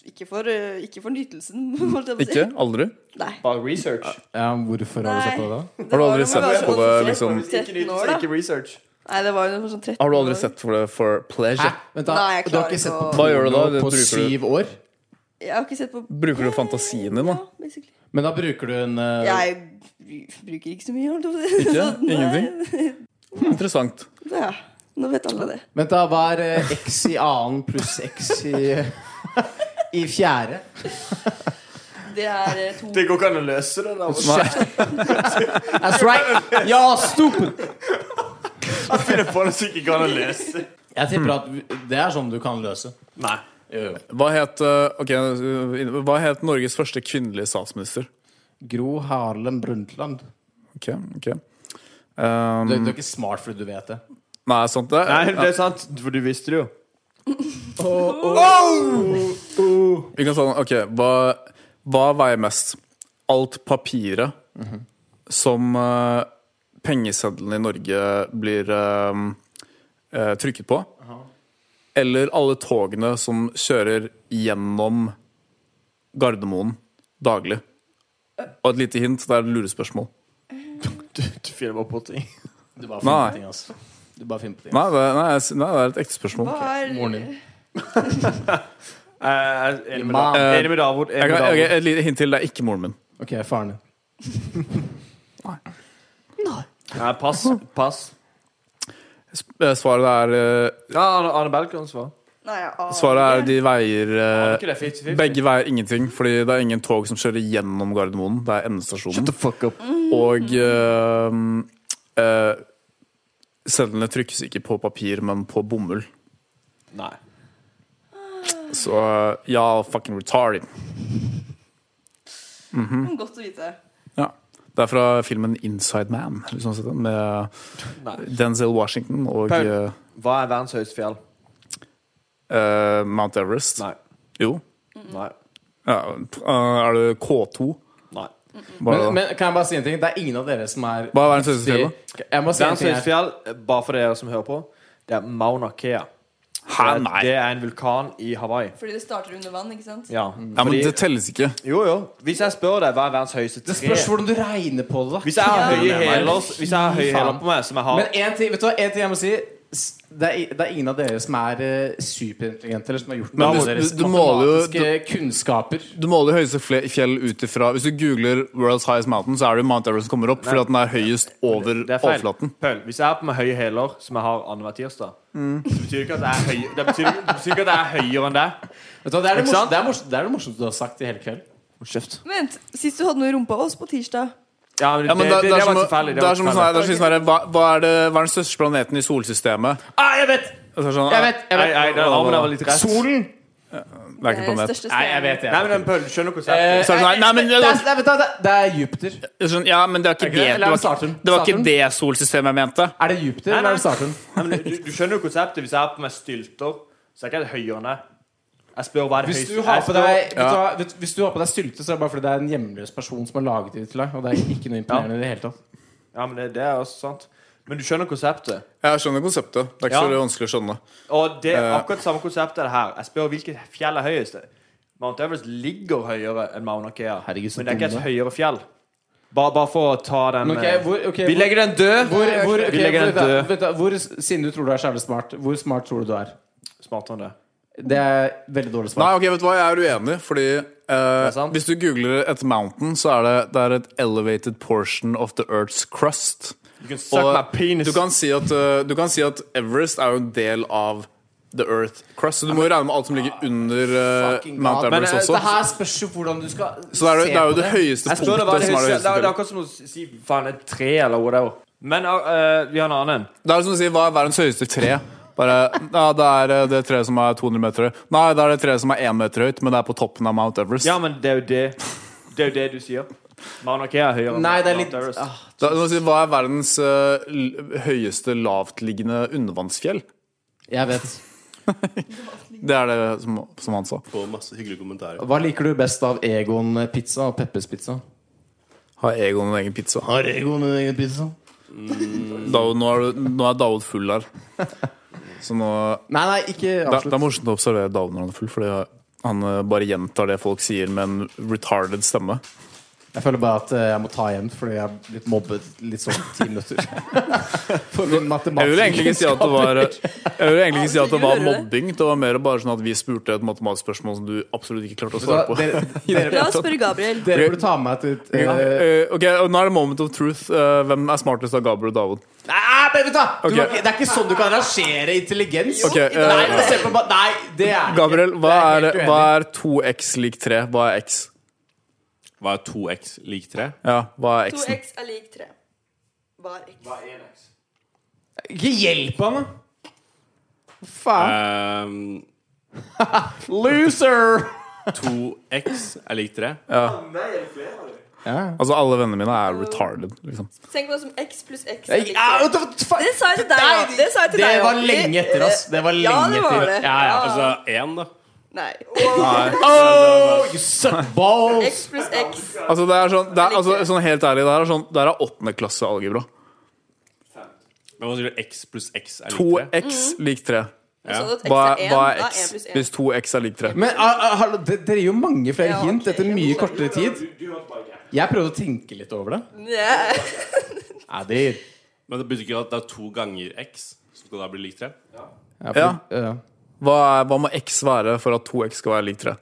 Speaker 4: ikke for, eh, ikke for nytelsen, holdt jeg på å si.
Speaker 3: Ikke? Aldri?
Speaker 4: Nei.
Speaker 2: Bare research.
Speaker 1: Ja, hvorfor har du sett på det, da?
Speaker 4: Det
Speaker 3: Har du
Speaker 4: var
Speaker 3: aldri
Speaker 4: når
Speaker 3: sett
Speaker 4: man var
Speaker 3: på
Speaker 4: sånn
Speaker 3: det,
Speaker 4: 13
Speaker 3: liksom?
Speaker 2: Ikke
Speaker 4: 13
Speaker 2: nytt,
Speaker 4: år, da.
Speaker 2: ikke research.
Speaker 4: Nei, det var jo for sånn 13
Speaker 3: Har du aldri
Speaker 4: år.
Speaker 3: sett for det for pleasure?
Speaker 1: Vent da,
Speaker 4: Nei, jeg
Speaker 1: Du har
Speaker 4: klarer
Speaker 1: ikke sett
Speaker 4: ikke
Speaker 1: på
Speaker 4: å-
Speaker 3: Hva gjør du da?
Speaker 1: porno
Speaker 3: Det
Speaker 1: på
Speaker 3: bruker du-
Speaker 1: syv år?
Speaker 4: Jeg har ikke sett på
Speaker 3: Bruker du fantasien din, da?
Speaker 4: Ja, basically.
Speaker 1: Men da bruker du en eh,
Speaker 4: Jeg br- bruker ikke så mye, holdt jeg på å si.
Speaker 3: Ikke?
Speaker 4: Så, nei.
Speaker 3: Ingenting? Hmm, Interessant.
Speaker 4: Ja, nå vet alle det.
Speaker 1: Vent, da. Hva er eh, x i annen pluss x i I fjerde?
Speaker 4: Det er eh, to
Speaker 2: Det går ikke an å løse det. da
Speaker 3: Nei.
Speaker 1: That's right! Ja, stupid!
Speaker 2: Jeg finner på noe som ikke går an å løse.
Speaker 1: Jeg tipper at det er sånn du kan løse.
Speaker 2: Nei.
Speaker 3: Hva het, eh, ok, eh, hva het Norges første kvinnelige statsminister?
Speaker 1: Gro Harlem Brundtland.
Speaker 3: Ok, ok um,
Speaker 1: Du, du er ikke smart fordi du vet det.
Speaker 3: Nei, sant det?
Speaker 2: Nei, det er sant, for du visste det jo.
Speaker 3: Vi kan sånn, ok, hva, hva veier mest? Alt papiret som eh, pengeseddelen i Norge blir eh, eh, trykket på, eller alle togene som kjører gjennom Gardermoen daglig. Og et lite hint, det er et lurespørsmål.
Speaker 2: Du, du finner bare på ting.
Speaker 1: Du bare finner
Speaker 3: Nei.
Speaker 1: på ting, altså. Du bare finner på ting.
Speaker 3: Nei, det, nei, jeg s- nei, det er et ekte spørsmål.
Speaker 4: Hva er
Speaker 1: Moren din.
Speaker 2: Enig med,
Speaker 1: Imam.
Speaker 2: da. enig med Davod. Enig
Speaker 3: Jeg
Speaker 2: med
Speaker 3: kan, ok,
Speaker 2: Davod.
Speaker 3: et lite hint til, det er ikke moren min.
Speaker 1: Ok, faren din.
Speaker 2: Nei, pass. pass.
Speaker 3: S- eh, Svaret er, eh,
Speaker 2: Ja, Arne, Arne Belkan svar.
Speaker 4: Nei, ah, jeg aner
Speaker 3: svaret er
Speaker 4: ikke.
Speaker 3: de veier eh,
Speaker 2: Ikke det, 50-50.
Speaker 3: Begge veier ingenting, fordi det er ingen tog som kjører gjennom Gardermoen. Det er endestasjonen.
Speaker 2: fuck up.
Speaker 3: Og eh, eh, sedlene trykkes ikke på papir, men på bomull.
Speaker 2: Nei.
Speaker 3: Så eh, ja, fucking retarded.
Speaker 4: Mm, Godt å vite.
Speaker 3: Ja. Det er fra filmen 'Inside Man', hvis man har sett den, med
Speaker 2: Nei.
Speaker 3: Denzel Washington og
Speaker 2: Paul.
Speaker 3: eh,
Speaker 2: Hva er verdens høyeste fjell?
Speaker 3: eh, Mount Everest.
Speaker 2: Nei.
Speaker 3: Jo.
Speaker 2: Nei.
Speaker 3: Ja, eh, er det K2?
Speaker 2: Nei.
Speaker 3: Hva er
Speaker 1: Men,
Speaker 3: det?
Speaker 1: men kan jeg bare si en ting? Det er ingen av dere som er
Speaker 3: Hva er verdens høyeste fjell, da?
Speaker 1: Jeg må si en
Speaker 2: Verdens
Speaker 1: ting
Speaker 2: høyeste
Speaker 1: her.
Speaker 2: fjell, bare for dere som hører på, det er Mauna Kea.
Speaker 3: Hæ, Ah, nei!
Speaker 2: Det er en vulkan i Hawaii.
Speaker 4: Fordi det starter under vann, ikke sant?
Speaker 2: Ja,
Speaker 3: Ja, men
Speaker 2: fordi,
Speaker 3: det telles ikke.
Speaker 2: Jo, jo. Hvis jeg spør deg hva er verdens høyeste
Speaker 1: Det
Speaker 2: tre
Speaker 1: spørs hvordan du regner på det, da.
Speaker 2: Hvis jeg har
Speaker 4: Ja.
Speaker 2: høye hæler Hvis jeg har høye
Speaker 1: Faen.
Speaker 2: hæler på meg, som jeg har
Speaker 1: Men en ting, vet du hva, en ting jeg må si S- det er, det er ingen av dere som er eh, superintelligente, eller som har gjort
Speaker 3: Men
Speaker 1: noe av
Speaker 3: du-
Speaker 1: deres
Speaker 3: du- du måler jo-
Speaker 1: matematiske kunnskaper.
Speaker 3: Du måler høyeste fle- fjell ut ifra Hvis du googler 'World's Highest Mountain', så er det jo Mount Everest som kommer opp, fordi at den er høyest over
Speaker 2: Det er feil.
Speaker 3: overflaten.
Speaker 2: Paul, hvis jeg har på meg høye hæler, som jeg har annenhver tirsdag,
Speaker 3: Mm.
Speaker 2: så betyr det ikke at jeg er høy, det betyr, det betyr ikke at jeg er høyere enn deg.
Speaker 1: Vet du hva, det, er det,
Speaker 2: Ikke
Speaker 1: morsom,
Speaker 2: sant?
Speaker 1: det, er morsom, det er det morsomste du har sagt i hele kveld.
Speaker 4: Vent, sist du hadde noe i rumpa oss på tirsdag
Speaker 2: Ja, men det,
Speaker 3: Ja, men
Speaker 2: det,
Speaker 3: det,
Speaker 2: det,
Speaker 3: er
Speaker 2: var
Speaker 3: som, å-
Speaker 2: tilfeldig.
Speaker 3: det er som
Speaker 2: var
Speaker 3: sånn her- det er
Speaker 2: tilfeldig.
Speaker 3: sånn her, hva, hva, er det, hva er den største planeten i solsystemet?
Speaker 1: Ah, jeg vet!
Speaker 3: Og så er det sånn,
Speaker 1: Jeg vet! Jeg
Speaker 2: Nei,
Speaker 1: vet.
Speaker 2: nei, den armen der var litt rett.
Speaker 1: Solen!
Speaker 3: Det er ikke en planet.
Speaker 4: eh, største
Speaker 1: Nei, jeg vet
Speaker 2: Nei,
Speaker 1: det.
Speaker 2: men den, Paul, du skjønner konseptet.
Speaker 3: Så er det sånn her, nei, men
Speaker 1: Eh, Det
Speaker 3: det,
Speaker 1: er, nei, vet du hva, det- det er Jupiter.
Speaker 3: det er sånn, ja, men det var
Speaker 1: Er
Speaker 3: ikke
Speaker 1: det-
Speaker 3: det
Speaker 1: eller
Speaker 3: Det var,
Speaker 1: Saturn?
Speaker 3: ikke- det var ikke
Speaker 1: Saturn?
Speaker 3: det solsystemet jeg mente.
Speaker 1: Er det Jupiter, eller
Speaker 2: Nei,
Speaker 1: er
Speaker 2: nei.
Speaker 1: det Saturn?
Speaker 2: Nei, men du, du skjønner jo konseptet. Hvis jeg har på meg stylter, så er jeg ikke jeg høyere enn deg. Jeg spør hva er det
Speaker 1: Hvis
Speaker 2: høyeste
Speaker 1: du har
Speaker 2: jeg
Speaker 1: på
Speaker 2: spør-
Speaker 1: deg, vet du, hva, vet, hvis du har på deg sylte, så er det bare fordi det er en hjemløs person som har laget det til deg. Og det er ikke noe imponerende i det hele tatt.
Speaker 2: Ja, men det, det er også sant. Men du skjønner konseptet.
Speaker 3: Jeg skjønner konseptet. Det er
Speaker 2: Ja.
Speaker 3: ikke så vanskelig å skjønne.
Speaker 2: Og det er
Speaker 3: Eh.
Speaker 2: akkurat samme konseptet er det her. Jeg spør hvilket fjell er høyest. Mount Everest ligger høyere enn Mauna Kea,
Speaker 1: Herregud, så
Speaker 2: men det er ikke et
Speaker 1: dumme.
Speaker 2: høyere fjell. Bare, bare for å ta den
Speaker 1: Men ok,
Speaker 2: eh,
Speaker 1: hvor, ok,
Speaker 2: Vi
Speaker 1: hvor,
Speaker 2: legger den død.
Speaker 1: hvor, hvor, ok,
Speaker 2: vi legger
Speaker 1: vent
Speaker 2: den
Speaker 1: da,
Speaker 2: død.
Speaker 1: vent da, hvor Siden du tror du er særlig smart, hvor smart tror du du er?
Speaker 2: Smartere enn det.
Speaker 1: Det er veldig dårlig svar.
Speaker 3: Nei, ok, vet du hva, jeg er uenig, fordi eh,
Speaker 2: er sant.
Speaker 3: hvis du googler et mountain, så er det, det er et elevated portion of the earth's crust.
Speaker 2: You can suck my penis.
Speaker 3: Du kan, si at, eh, du kan si at Everest er jo en del av The Earth Crust. Så du må jo regne med alt som ligger under eh,
Speaker 1: Fucking
Speaker 3: Mount
Speaker 1: god. Men,
Speaker 3: Everest
Speaker 1: eh,
Speaker 3: også.
Speaker 1: Det her spørs jo hvordan du skal
Speaker 3: Så det er, jo- det er jo det
Speaker 2: Jeg
Speaker 3: høyeste
Speaker 2: spør deg hva
Speaker 3: punktet
Speaker 2: det
Speaker 3: som er
Speaker 2: høyeste
Speaker 3: det
Speaker 2: Det er det er
Speaker 3: høyeste.
Speaker 2: akkurat som å si faen et tre eller whatever. Men eh, vi har en annen en.
Speaker 3: Det er som å si hva er verdens høyeste tre? Bare, ja, det er eh, det treet som er 200 meter høyt. Nei, det er det treet som er 1 meter høyt, men det er på toppen av Mount Everest.
Speaker 2: Ja, men det er jo det Det er jo det du sier. Mauna Kea er høyere enn
Speaker 1: Nei, det er
Speaker 2: Mount
Speaker 1: litt
Speaker 2: Everest.
Speaker 1: ah,
Speaker 3: Det er som å si, hva er verdens eh, l- høyeste lavtliggende undervannsfjell?
Speaker 1: Jeg vet.
Speaker 3: Det er det som, som han sa.
Speaker 5: På masse hyggelige kommentarer.
Speaker 1: Hva liker du best av Egon pizza og Peppers pizza?
Speaker 3: Har Egon en egen pizza?
Speaker 1: Har Egon en egen pizza?
Speaker 3: David, nå, er, du- nå er David full her. Så nå
Speaker 1: Nei, nei, ikke
Speaker 3: det, det
Speaker 1: avslutt.
Speaker 3: er morsomt å observere David når han er full, fordi han eh, bare gjentar det folk sier med en retarded stemme.
Speaker 1: Jeg føler bare at eh, jeg må ta igjen fordi jeg er blitt mobbet litt sånn ti minutter. For min
Speaker 3: Jeg vil egentlig ikke si at det var Jeg vil egentlig ikke si at det var
Speaker 4: Gjør det?
Speaker 3: mobbing. Det var mer bare sånn at vi spurte et matematisk spørsmål som du absolutt ikke klarte å svare på.
Speaker 1: Dere,
Speaker 4: La
Speaker 1: dere,
Speaker 4: oss spørre Gabriel.
Speaker 1: dere burde ta med meg til et eh,
Speaker 3: Eh, ok, og Nå er det moment of truth. Eh, hvem er smartest av Gabriel og David?
Speaker 1: Nei, ah, men vet du, hva?
Speaker 3: Ok.
Speaker 1: du må ikke- Det er ikke sånn du kan rangere intelligens.
Speaker 3: Ok, eh,
Speaker 1: nei, men se på, ba- nei, det er det
Speaker 3: Gabriel,
Speaker 1: ikke.
Speaker 3: hva
Speaker 1: Det
Speaker 3: er,
Speaker 1: jeg helt
Speaker 3: hva
Speaker 1: uenig i.
Speaker 3: er 2x lik 3? Hva er x?
Speaker 5: Hva er 2x lik 3?
Speaker 3: Ja, hva er x-en?
Speaker 4: 2x er lik 3. Hva er x?
Speaker 1: Ikke hjelp han, da! Faen.
Speaker 5: Ehm,
Speaker 1: Loser!
Speaker 5: 2x er lik 3.
Speaker 3: Altså, alle vennene mine er retarded, liksom.
Speaker 4: Tenk på det som x pluss x er
Speaker 1: Jeg-
Speaker 4: lik
Speaker 1: Au,
Speaker 4: 3.
Speaker 1: da, fa-
Speaker 4: Det sa jeg til deg, ja.
Speaker 1: Nei,
Speaker 4: Det sa jeg til
Speaker 1: det
Speaker 4: deg, ja.
Speaker 1: var lenge etter, ass. Det var lenge
Speaker 4: Ja, det var
Speaker 1: etter.
Speaker 4: det. Ah,
Speaker 5: Ja, ja, altså 1, da.
Speaker 4: Nei.
Speaker 1: Oh, you suck balls!
Speaker 4: X pluss x.
Speaker 3: Altså, det er sånn, det er, altså, sånn helt ærlig, det her er sånn Det her er åttende klasse algebra.
Speaker 5: Men hva sier du? X pluss x er lik 3?
Speaker 3: 2x lik 3.
Speaker 4: Sånn at Mm. x
Speaker 3: Hva,
Speaker 4: er 1,
Speaker 3: hva
Speaker 4: da
Speaker 3: er
Speaker 4: er 1
Speaker 3: x?
Speaker 4: pluss 1.
Speaker 3: Hvis 2x er lik 3.
Speaker 1: Men ah, ah, hallo, de- dere gir jo mange flere
Speaker 4: Ja,
Speaker 1: hint
Speaker 4: ok.
Speaker 1: etter mye kortere tid. Jeg prøvde å tenke litt over det.
Speaker 4: Ja.
Speaker 1: Nei, det
Speaker 5: Men det betyr ikke at det er to ganger x som skal da bli lik 3?
Speaker 1: jeg,
Speaker 3: Ja.
Speaker 1: ja.
Speaker 3: Hva, er- hva må x være for at 2x skal være lik 3?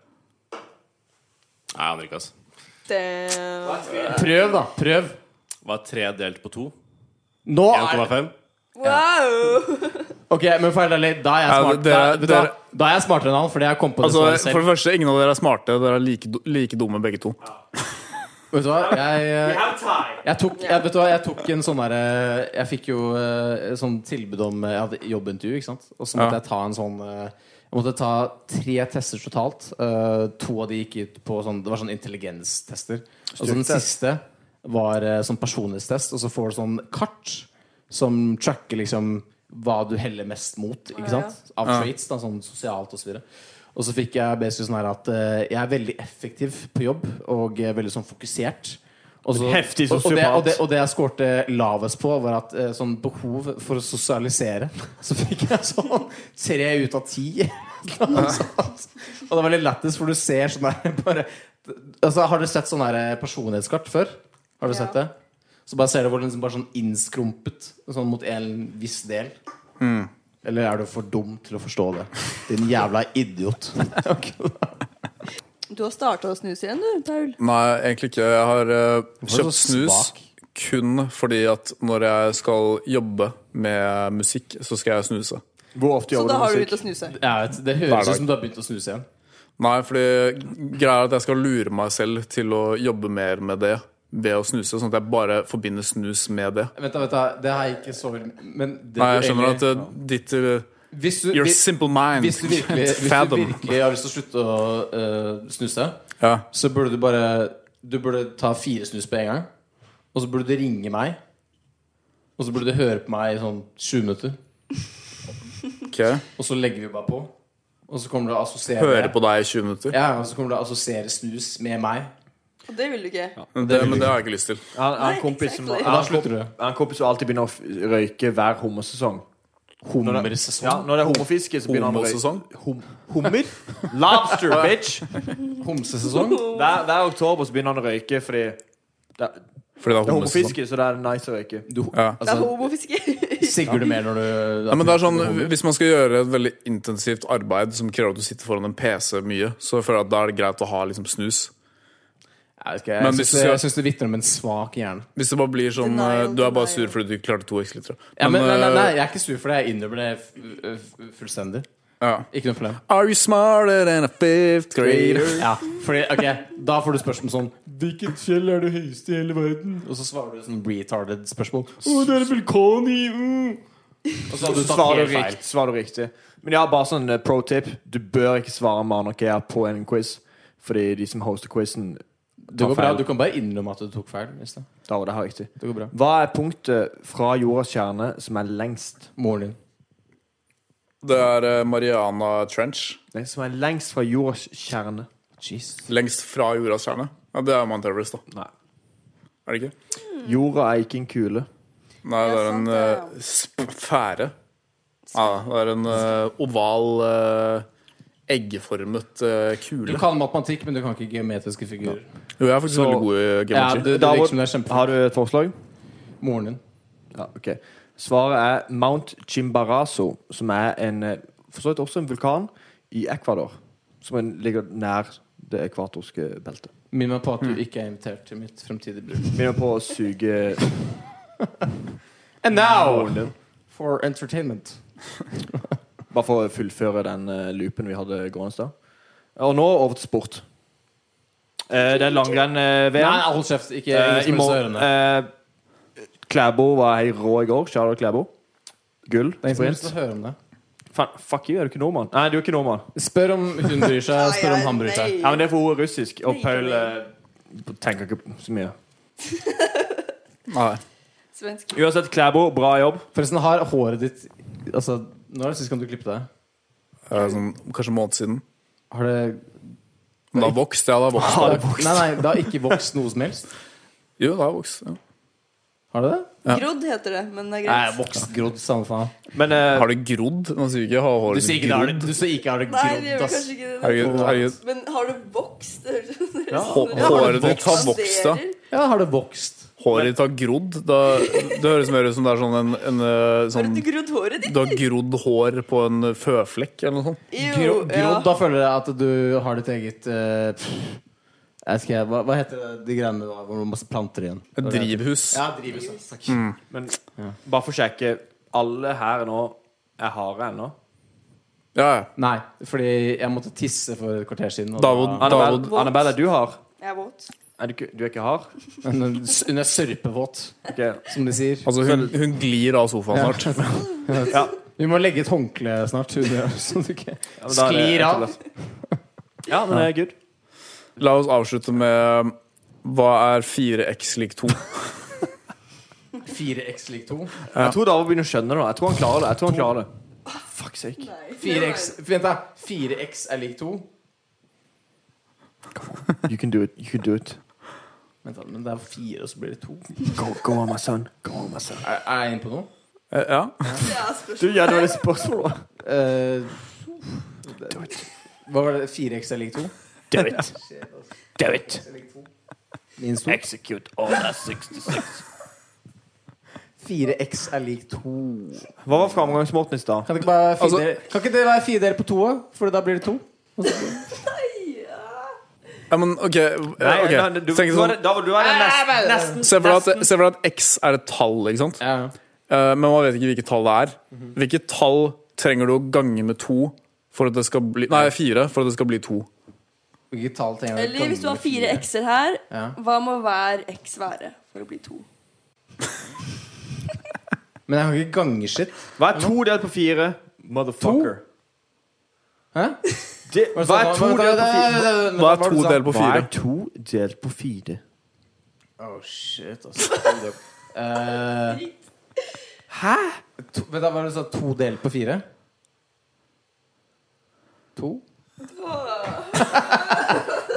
Speaker 5: Nei, jeg aner ikke, altså.
Speaker 4: Det-
Speaker 1: Prøv, da. Prøv.
Speaker 5: Hva er 3 delt på 2?
Speaker 1: Nå er
Speaker 5: 1,5?
Speaker 4: Wow!
Speaker 1: Ok, men for helt ærlig, da er jeg
Speaker 3: Ja,
Speaker 1: smart
Speaker 3: dere-
Speaker 1: da, vet du hva?
Speaker 3: dere-
Speaker 1: da er jeg smartere enn han, fordi jeg kom på det
Speaker 3: Altså,
Speaker 1: svaret
Speaker 3: for
Speaker 1: selv.
Speaker 3: det første, ingen av dere er smarte. Dere er like, du- like dumme begge to.
Speaker 1: Vet du hva? Jeg, eh, jeg, tok, jeg, vet du hva? jeg tok en sånn derre Jeg fikk jo eh, sånn tilbud om eh, Jeg hadde jobbintervju, ikke sant? Og så måtte
Speaker 3: Ja.
Speaker 1: jeg ta en sånn eh, Jeg måtte ta tre tester totalt. Eh, to av de gikk ut på sånn Det var sånn intelligenstester. Og så den siste var eh, sånn personlighetstest, og så får du sånn kart som tracker liksom hva du heller mest mot, ikke
Speaker 4: Ja, ja.
Speaker 1: sant? Av traits, da, sånn sosialt og så videre. Og så fikk jeg basically sånn her at eh, jeg er veldig effektiv på jobb og eh, veldig sånn fokusert. Og så-
Speaker 2: Heftig
Speaker 1: og- og det-
Speaker 2: sosiopat.
Speaker 1: Og, det- og det jeg skårte lavest på, var at eh, sånn behov for å sosialisere. Så fikk jeg sånn tre ut av ti. og det var litt lættis, for du ser sånn der bare altså, Har dere sett sånn der personlighetskart før? Har du
Speaker 4: Ja.
Speaker 1: sett det? Så bare ser du hvor den liksom bare sånn innskrumpet sånn mot en viss del.
Speaker 3: Mm.
Speaker 1: Eller er du for dum til å forstå det? Din jævla idiot.
Speaker 4: Du har starta å snuse igjen, du, Paul.
Speaker 3: Nei, egentlig ikke. Jeg har eh,
Speaker 1: så
Speaker 3: kjøpt snus
Speaker 1: svak?
Speaker 3: kun fordi at når jeg skal jobbe med musikk, så skal jeg snuse.
Speaker 2: Hvor ofte
Speaker 4: Så da har
Speaker 2: jobber du
Speaker 4: du begynt å
Speaker 2: musikk?
Speaker 4: snuse.
Speaker 1: Jeg vet, det
Speaker 3: Hver
Speaker 1: høres
Speaker 3: dag.
Speaker 1: ut som du har begynt å snuse igjen.
Speaker 3: Nei, fordi greia er at jeg skal lure meg selv til å jobbe mer med det ved å snuse, sånn at jeg bare forbinder snus med det.
Speaker 1: Vent da, vent da, det har jeg ikke så vel Men det
Speaker 3: Nei, jeg skjønner
Speaker 1: egentlig-
Speaker 3: at eh, ditt eh,
Speaker 1: hvis du,
Speaker 3: Your
Speaker 1: hvis,
Speaker 3: simple mind
Speaker 1: hvis, du virkelig, hvis du
Speaker 3: fathom.
Speaker 1: virkelig har lyst til å slutte å eh, snuse,
Speaker 3: Ja.
Speaker 1: så burde du bare Du burde ta fire snus på en gang. Og så burde du ringe meg. Og så burde du høre på meg i sånn 20 minutter.
Speaker 3: ok.
Speaker 1: Og så legger vi bare på. Og så kommer du å assosiere
Speaker 3: Høre på deg i 20 minutter.
Speaker 1: Ja, og så kommer du å assosiere snus med meg.
Speaker 4: Og det vil du ikke.
Speaker 3: Det, men det har jeg ikke lyst til.
Speaker 2: Han, han
Speaker 4: Nei,
Speaker 2: kompisen
Speaker 4: exactly.
Speaker 2: vår-
Speaker 1: Og da
Speaker 2: han kom-
Speaker 1: slutter du.
Speaker 2: han kompis som alltid begynner å f- røyke hver hummersesong.
Speaker 1: Hummersesong.
Speaker 2: Ja, når det er hummerfiske, så begynner han å røyke.
Speaker 3: Homosesong.
Speaker 2: Hum hummer? Lobster, bitch!
Speaker 1: Homsesesong.
Speaker 2: Hver, hver oktober så begynner han å røyke fordi det er, det er
Speaker 3: Fordi det er homosesong.
Speaker 2: hummerfiske, så det er nice å røyke.
Speaker 1: Du,
Speaker 3: Ja.
Speaker 4: Det er
Speaker 1: altså,
Speaker 4: homofiske.
Speaker 1: sigger du mer når du
Speaker 3: Ja, men det er sånn, Hvis man skal gjøre et veldig intensivt arbeid som krever at du sitter foran en PC mye, så føler jeg at da er det greit å ha liksom snus.
Speaker 1: Jeg, vet ikke,
Speaker 3: Men
Speaker 1: jeg, syns
Speaker 3: hvis du
Speaker 1: det-
Speaker 3: skal-
Speaker 1: jeg syns det vitner om en svak hjerne.
Speaker 3: Hvis det bare blir sånn
Speaker 4: Denial,
Speaker 3: eh, Du er bare
Speaker 4: denial.
Speaker 3: sur fordi du ikke klarte to eh, X-liter.
Speaker 1: Ja, men, eh, nei, nei, nei, jeg er ikke sur for det. Jeg innrømmer det f- f- fullstendig.
Speaker 3: Ja.
Speaker 1: Ikke noe problem.
Speaker 3: Are you smarter than a fifth grader?
Speaker 1: Ja, fordi, ok, Da får du spørsmål sånn Hvilket fjell er det høyeste i hele verden? Og så svarer du sånn retarded spørsmål. Å, det er en vulkan i mm. Og så har du
Speaker 2: Så
Speaker 1: tatt
Speaker 2: svarer
Speaker 1: helt
Speaker 2: du,
Speaker 1: feil.
Speaker 2: rikt, svarer du riktig. Men jeg har bare sånn eh, pro tip. Du bør ikke svare Manokea på en quiz, fordi de som hoster quizen,
Speaker 1: Det går bra,
Speaker 2: feil.
Speaker 1: Du kan bare innrømme at du tok feil. Hvis det.
Speaker 2: da var det her riktig.
Speaker 1: det går bra
Speaker 2: Hva er punktet fra jordas kjerne som er lengst?
Speaker 1: Moren din.
Speaker 3: Det er eh, Mariana Trench.
Speaker 2: Nei, som er lengst fra jordas kjerne.
Speaker 1: Jeez.
Speaker 3: Lengst fra jordas kjerne. Ja, det er Mount Everest, da.
Speaker 2: Nei.
Speaker 3: Er det ikke?
Speaker 1: Mm.
Speaker 2: Jorda er ikke en kule.
Speaker 3: Nei,
Speaker 4: Ja,
Speaker 3: det er
Speaker 4: sant,
Speaker 3: en
Speaker 4: det, ja.
Speaker 3: eh, sp- sfære. Ja, det er en eh, oval, eh, eggformet
Speaker 1: Du
Speaker 3: eh, kule.
Speaker 1: kan matematikk, men du kan ikke geometriske figurer.
Speaker 3: Jo, jeg er faktisk
Speaker 2: Så-
Speaker 3: veldig god i
Speaker 1: Ja,
Speaker 3: geometri.
Speaker 1: du, du,
Speaker 2: Davor,
Speaker 1: liksom, det er kjempe...
Speaker 2: Har du et forslag?
Speaker 1: Moren din.
Speaker 2: Ja, ok Svaret er Mount Chimborazo, som er en eh, for så vidt også en vulkan i Ecuador. Som en- ligger nær det ekvatorske beltet.
Speaker 1: Minn meg på at du ikke er invitert til mitt fremtidige bryllup.
Speaker 2: Begynner på å suge
Speaker 1: And now for entertainment.
Speaker 2: Bare for å fullføre den eh, loopen vi hadde gående i stad. Og nå over til sport. Eh, det er
Speaker 1: Nei,
Speaker 2: langrenn-VM.
Speaker 1: hold kjeft. Ikke
Speaker 2: Eh, i
Speaker 1: ingen som helst
Speaker 2: morgen
Speaker 1: ørene.
Speaker 2: eh, Klæbo var helt rå i går. Charlotte Klæbo. Gull.
Speaker 1: Det er ingen som helst
Speaker 2: Sprint.
Speaker 1: å høre om det.
Speaker 2: Fan, fuck you, er du ikke nordmann? Nei, du er ikke nordmann.
Speaker 1: Spør om hun bryr seg, spør om
Speaker 4: Ai, ai,
Speaker 1: han bryr seg.
Speaker 2: Ja, men det er for hun er russisk, og
Speaker 4: Nei,
Speaker 2: Paul
Speaker 4: nei.
Speaker 2: eh, tenker ikke så mye.
Speaker 3: Nei.
Speaker 4: Svensk.
Speaker 2: Uansett, Klæbo, bra jobb.
Speaker 1: Forresten, har håret ditt Altså, Når er det sist gang du klippet deg?
Speaker 3: Det er sånn, kanskje en måned siden.
Speaker 1: Har det
Speaker 3: Men det har vokst. Ja, det har vokst.
Speaker 1: Har det vokst? Nei, nei, det har ikke vokst noe som helst.
Speaker 3: Jo, det har vokst. Ja.
Speaker 1: Har det det?
Speaker 3: Ja.
Speaker 4: Grodd heter det, men det er
Speaker 1: Nei,
Speaker 4: greit.
Speaker 1: vokst, grodd, samme faen.
Speaker 2: Men eh,
Speaker 3: Har det grodd? Man sier ikke har
Speaker 1: Du
Speaker 3: håret
Speaker 1: sier ikke det har det, du sier ikke har det
Speaker 4: Nei, det
Speaker 1: grodd,
Speaker 4: gjør
Speaker 1: ass.
Speaker 4: kanskje ikke det.
Speaker 3: Herregud, herregud.
Speaker 4: Men har du vokst? Det høres ut som det
Speaker 3: Hå-
Speaker 4: er sånn-
Speaker 3: Håret ditt har vokst, da.
Speaker 4: Passerer.
Speaker 1: Ja, har det vokst?
Speaker 3: Håret ditt har grodd. Da, det høres mer ut som det er sånn en, en eh,
Speaker 4: Har
Speaker 3: sånn
Speaker 4: du ikke grodd håret ditt?
Speaker 3: Du har grodd hår på en eh, føflekk eller noe sånt.
Speaker 4: Jo,
Speaker 1: Gro,
Speaker 4: ja.
Speaker 1: grodd, da føler jeg at du har ditt eget eh, pff, jeg vet ikke, hva, hva heter det, de greiene der hvor det er masse planter igjen?
Speaker 3: Et drivhus.
Speaker 1: Ja, drivhus. ja. Takk.
Speaker 2: Men bare for å sjekke Alle her nå er harde ennå.
Speaker 3: Ja, ja.
Speaker 1: Nei, fordi jeg måtte tisse for et kvarter siden. og
Speaker 3: Davod,
Speaker 1: da-
Speaker 2: Annabelle,
Speaker 3: Davod
Speaker 4: Våt.
Speaker 2: Annabelle, er du hard?
Speaker 4: Jeg er våt.
Speaker 2: Er du, ikke, du er ikke hard?
Speaker 1: Hun er s- hun er sørpevåt,
Speaker 2: Ok.
Speaker 1: som de sier.
Speaker 3: Altså, hun, hun glir av sofaen snart.
Speaker 2: Ja,
Speaker 1: Vi må legge et håndkle snart. Hun, gjør, sånn at du ikke
Speaker 2: ja, men da er det
Speaker 1: Sklir av.
Speaker 2: etterlatt. Ja, men det er good.
Speaker 3: La oss avslutte med um, Hva er 4x lik 2?
Speaker 1: 4x lik 2.
Speaker 2: Jeg tror David begynner å skjønne det nå. Jeg tror han klarer det. Jeg tror han klarer det. Fuck sake.
Speaker 4: Nei.
Speaker 1: 4x, vent da, 4x er lik 2.
Speaker 2: You can do it. You can do it.
Speaker 1: Vent da, men det er 4, og så blir det 2.
Speaker 2: Go, go on, my son. Go on, my son.
Speaker 1: Er, er jeg inne på noe?
Speaker 3: Eh, Ja.
Speaker 2: Du,
Speaker 4: Det er spørsmål.
Speaker 2: ja, det var et spørsmål. da.
Speaker 1: Eh, hva var det? 4x er lik 2?
Speaker 2: Do it. Do it.
Speaker 1: Minus 2.
Speaker 2: Execute order 66.
Speaker 1: 4x er lik 2.
Speaker 2: Hva var framgangsmåten i stad?
Speaker 1: Kan det ikke, bare fire,
Speaker 3: Altså-
Speaker 1: dele- kan ikke det være 4 delt på 2, for da blir det 2?
Speaker 3: ja, men OK. eh,
Speaker 2: Nei,
Speaker 3: ok.
Speaker 2: nei, du-
Speaker 3: Tenk
Speaker 2: du var
Speaker 3: sånn,
Speaker 2: det- da var- du var det nesten- nesten
Speaker 3: se for deg at, se for deg at x er et tall, ikke sant?
Speaker 1: Ja.
Speaker 3: Eh, Men man vet ikke hvilket tall det er. Hvilket tall trenger du å gange med to for at det skal bli Nei, fire for at det skal bli to.
Speaker 1: Hvilket tall trenger jeg å
Speaker 4: Eller hvis du har
Speaker 1: gange med
Speaker 4: fire x-er her,
Speaker 1: Ja.
Speaker 4: hva må hver x være for å bli to?
Speaker 1: Men jeg kan ikke gange shit.
Speaker 2: Hva er to delt på fire? Motherfucker.
Speaker 1: Hæ?
Speaker 2: Det, hva er to delt på fire?
Speaker 3: Hva er to delt på fire?
Speaker 2: to delt på fire?
Speaker 1: Oh shit, altså. Eh, Hæ? To, vent, da var det sånn to delt på fire? To? Jeg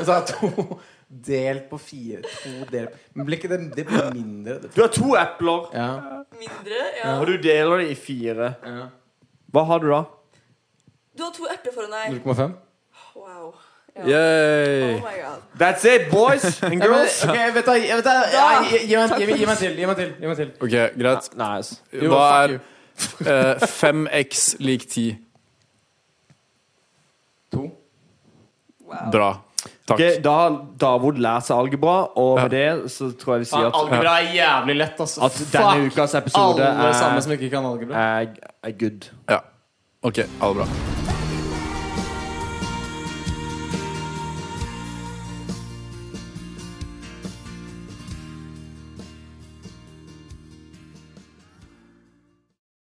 Speaker 1: sa to delt på fire. To delt Men blir ikke det, det blir mindre? Det,
Speaker 2: Du har to epler,
Speaker 1: ja.
Speaker 4: Mindre, ja.
Speaker 2: og du deler det i fire.
Speaker 1: ja.
Speaker 2: Hva har du da?
Speaker 4: Du har to erter foran deg.
Speaker 1: 0,5?
Speaker 4: Wow.
Speaker 3: Yay!
Speaker 4: Oh my god.
Speaker 2: That's it, boys and
Speaker 1: Ja, men,
Speaker 2: girls.
Speaker 1: ok, vent da, vent da. Nei, gi- Gi meg gi meg- gi meg til. Gi meg til. Gi meg til.
Speaker 3: OK, greit.
Speaker 2: Nice.
Speaker 1: Jo,
Speaker 3: Hva
Speaker 1: fuck you.
Speaker 3: er eh, 5x lik 10?
Speaker 1: To.
Speaker 4: Wow.
Speaker 3: Bra.
Speaker 2: Ok,
Speaker 3: Takk.
Speaker 2: da har Davod lært seg algebra, og med det så tror jeg vi sier at,
Speaker 1: Algebra er jævlig lett, altså.
Speaker 2: at denne ukas episode
Speaker 1: Alle sammen
Speaker 2: er,
Speaker 1: som ikke kan algebra.
Speaker 2: er, er good.
Speaker 3: Ja. OK, ha det bra.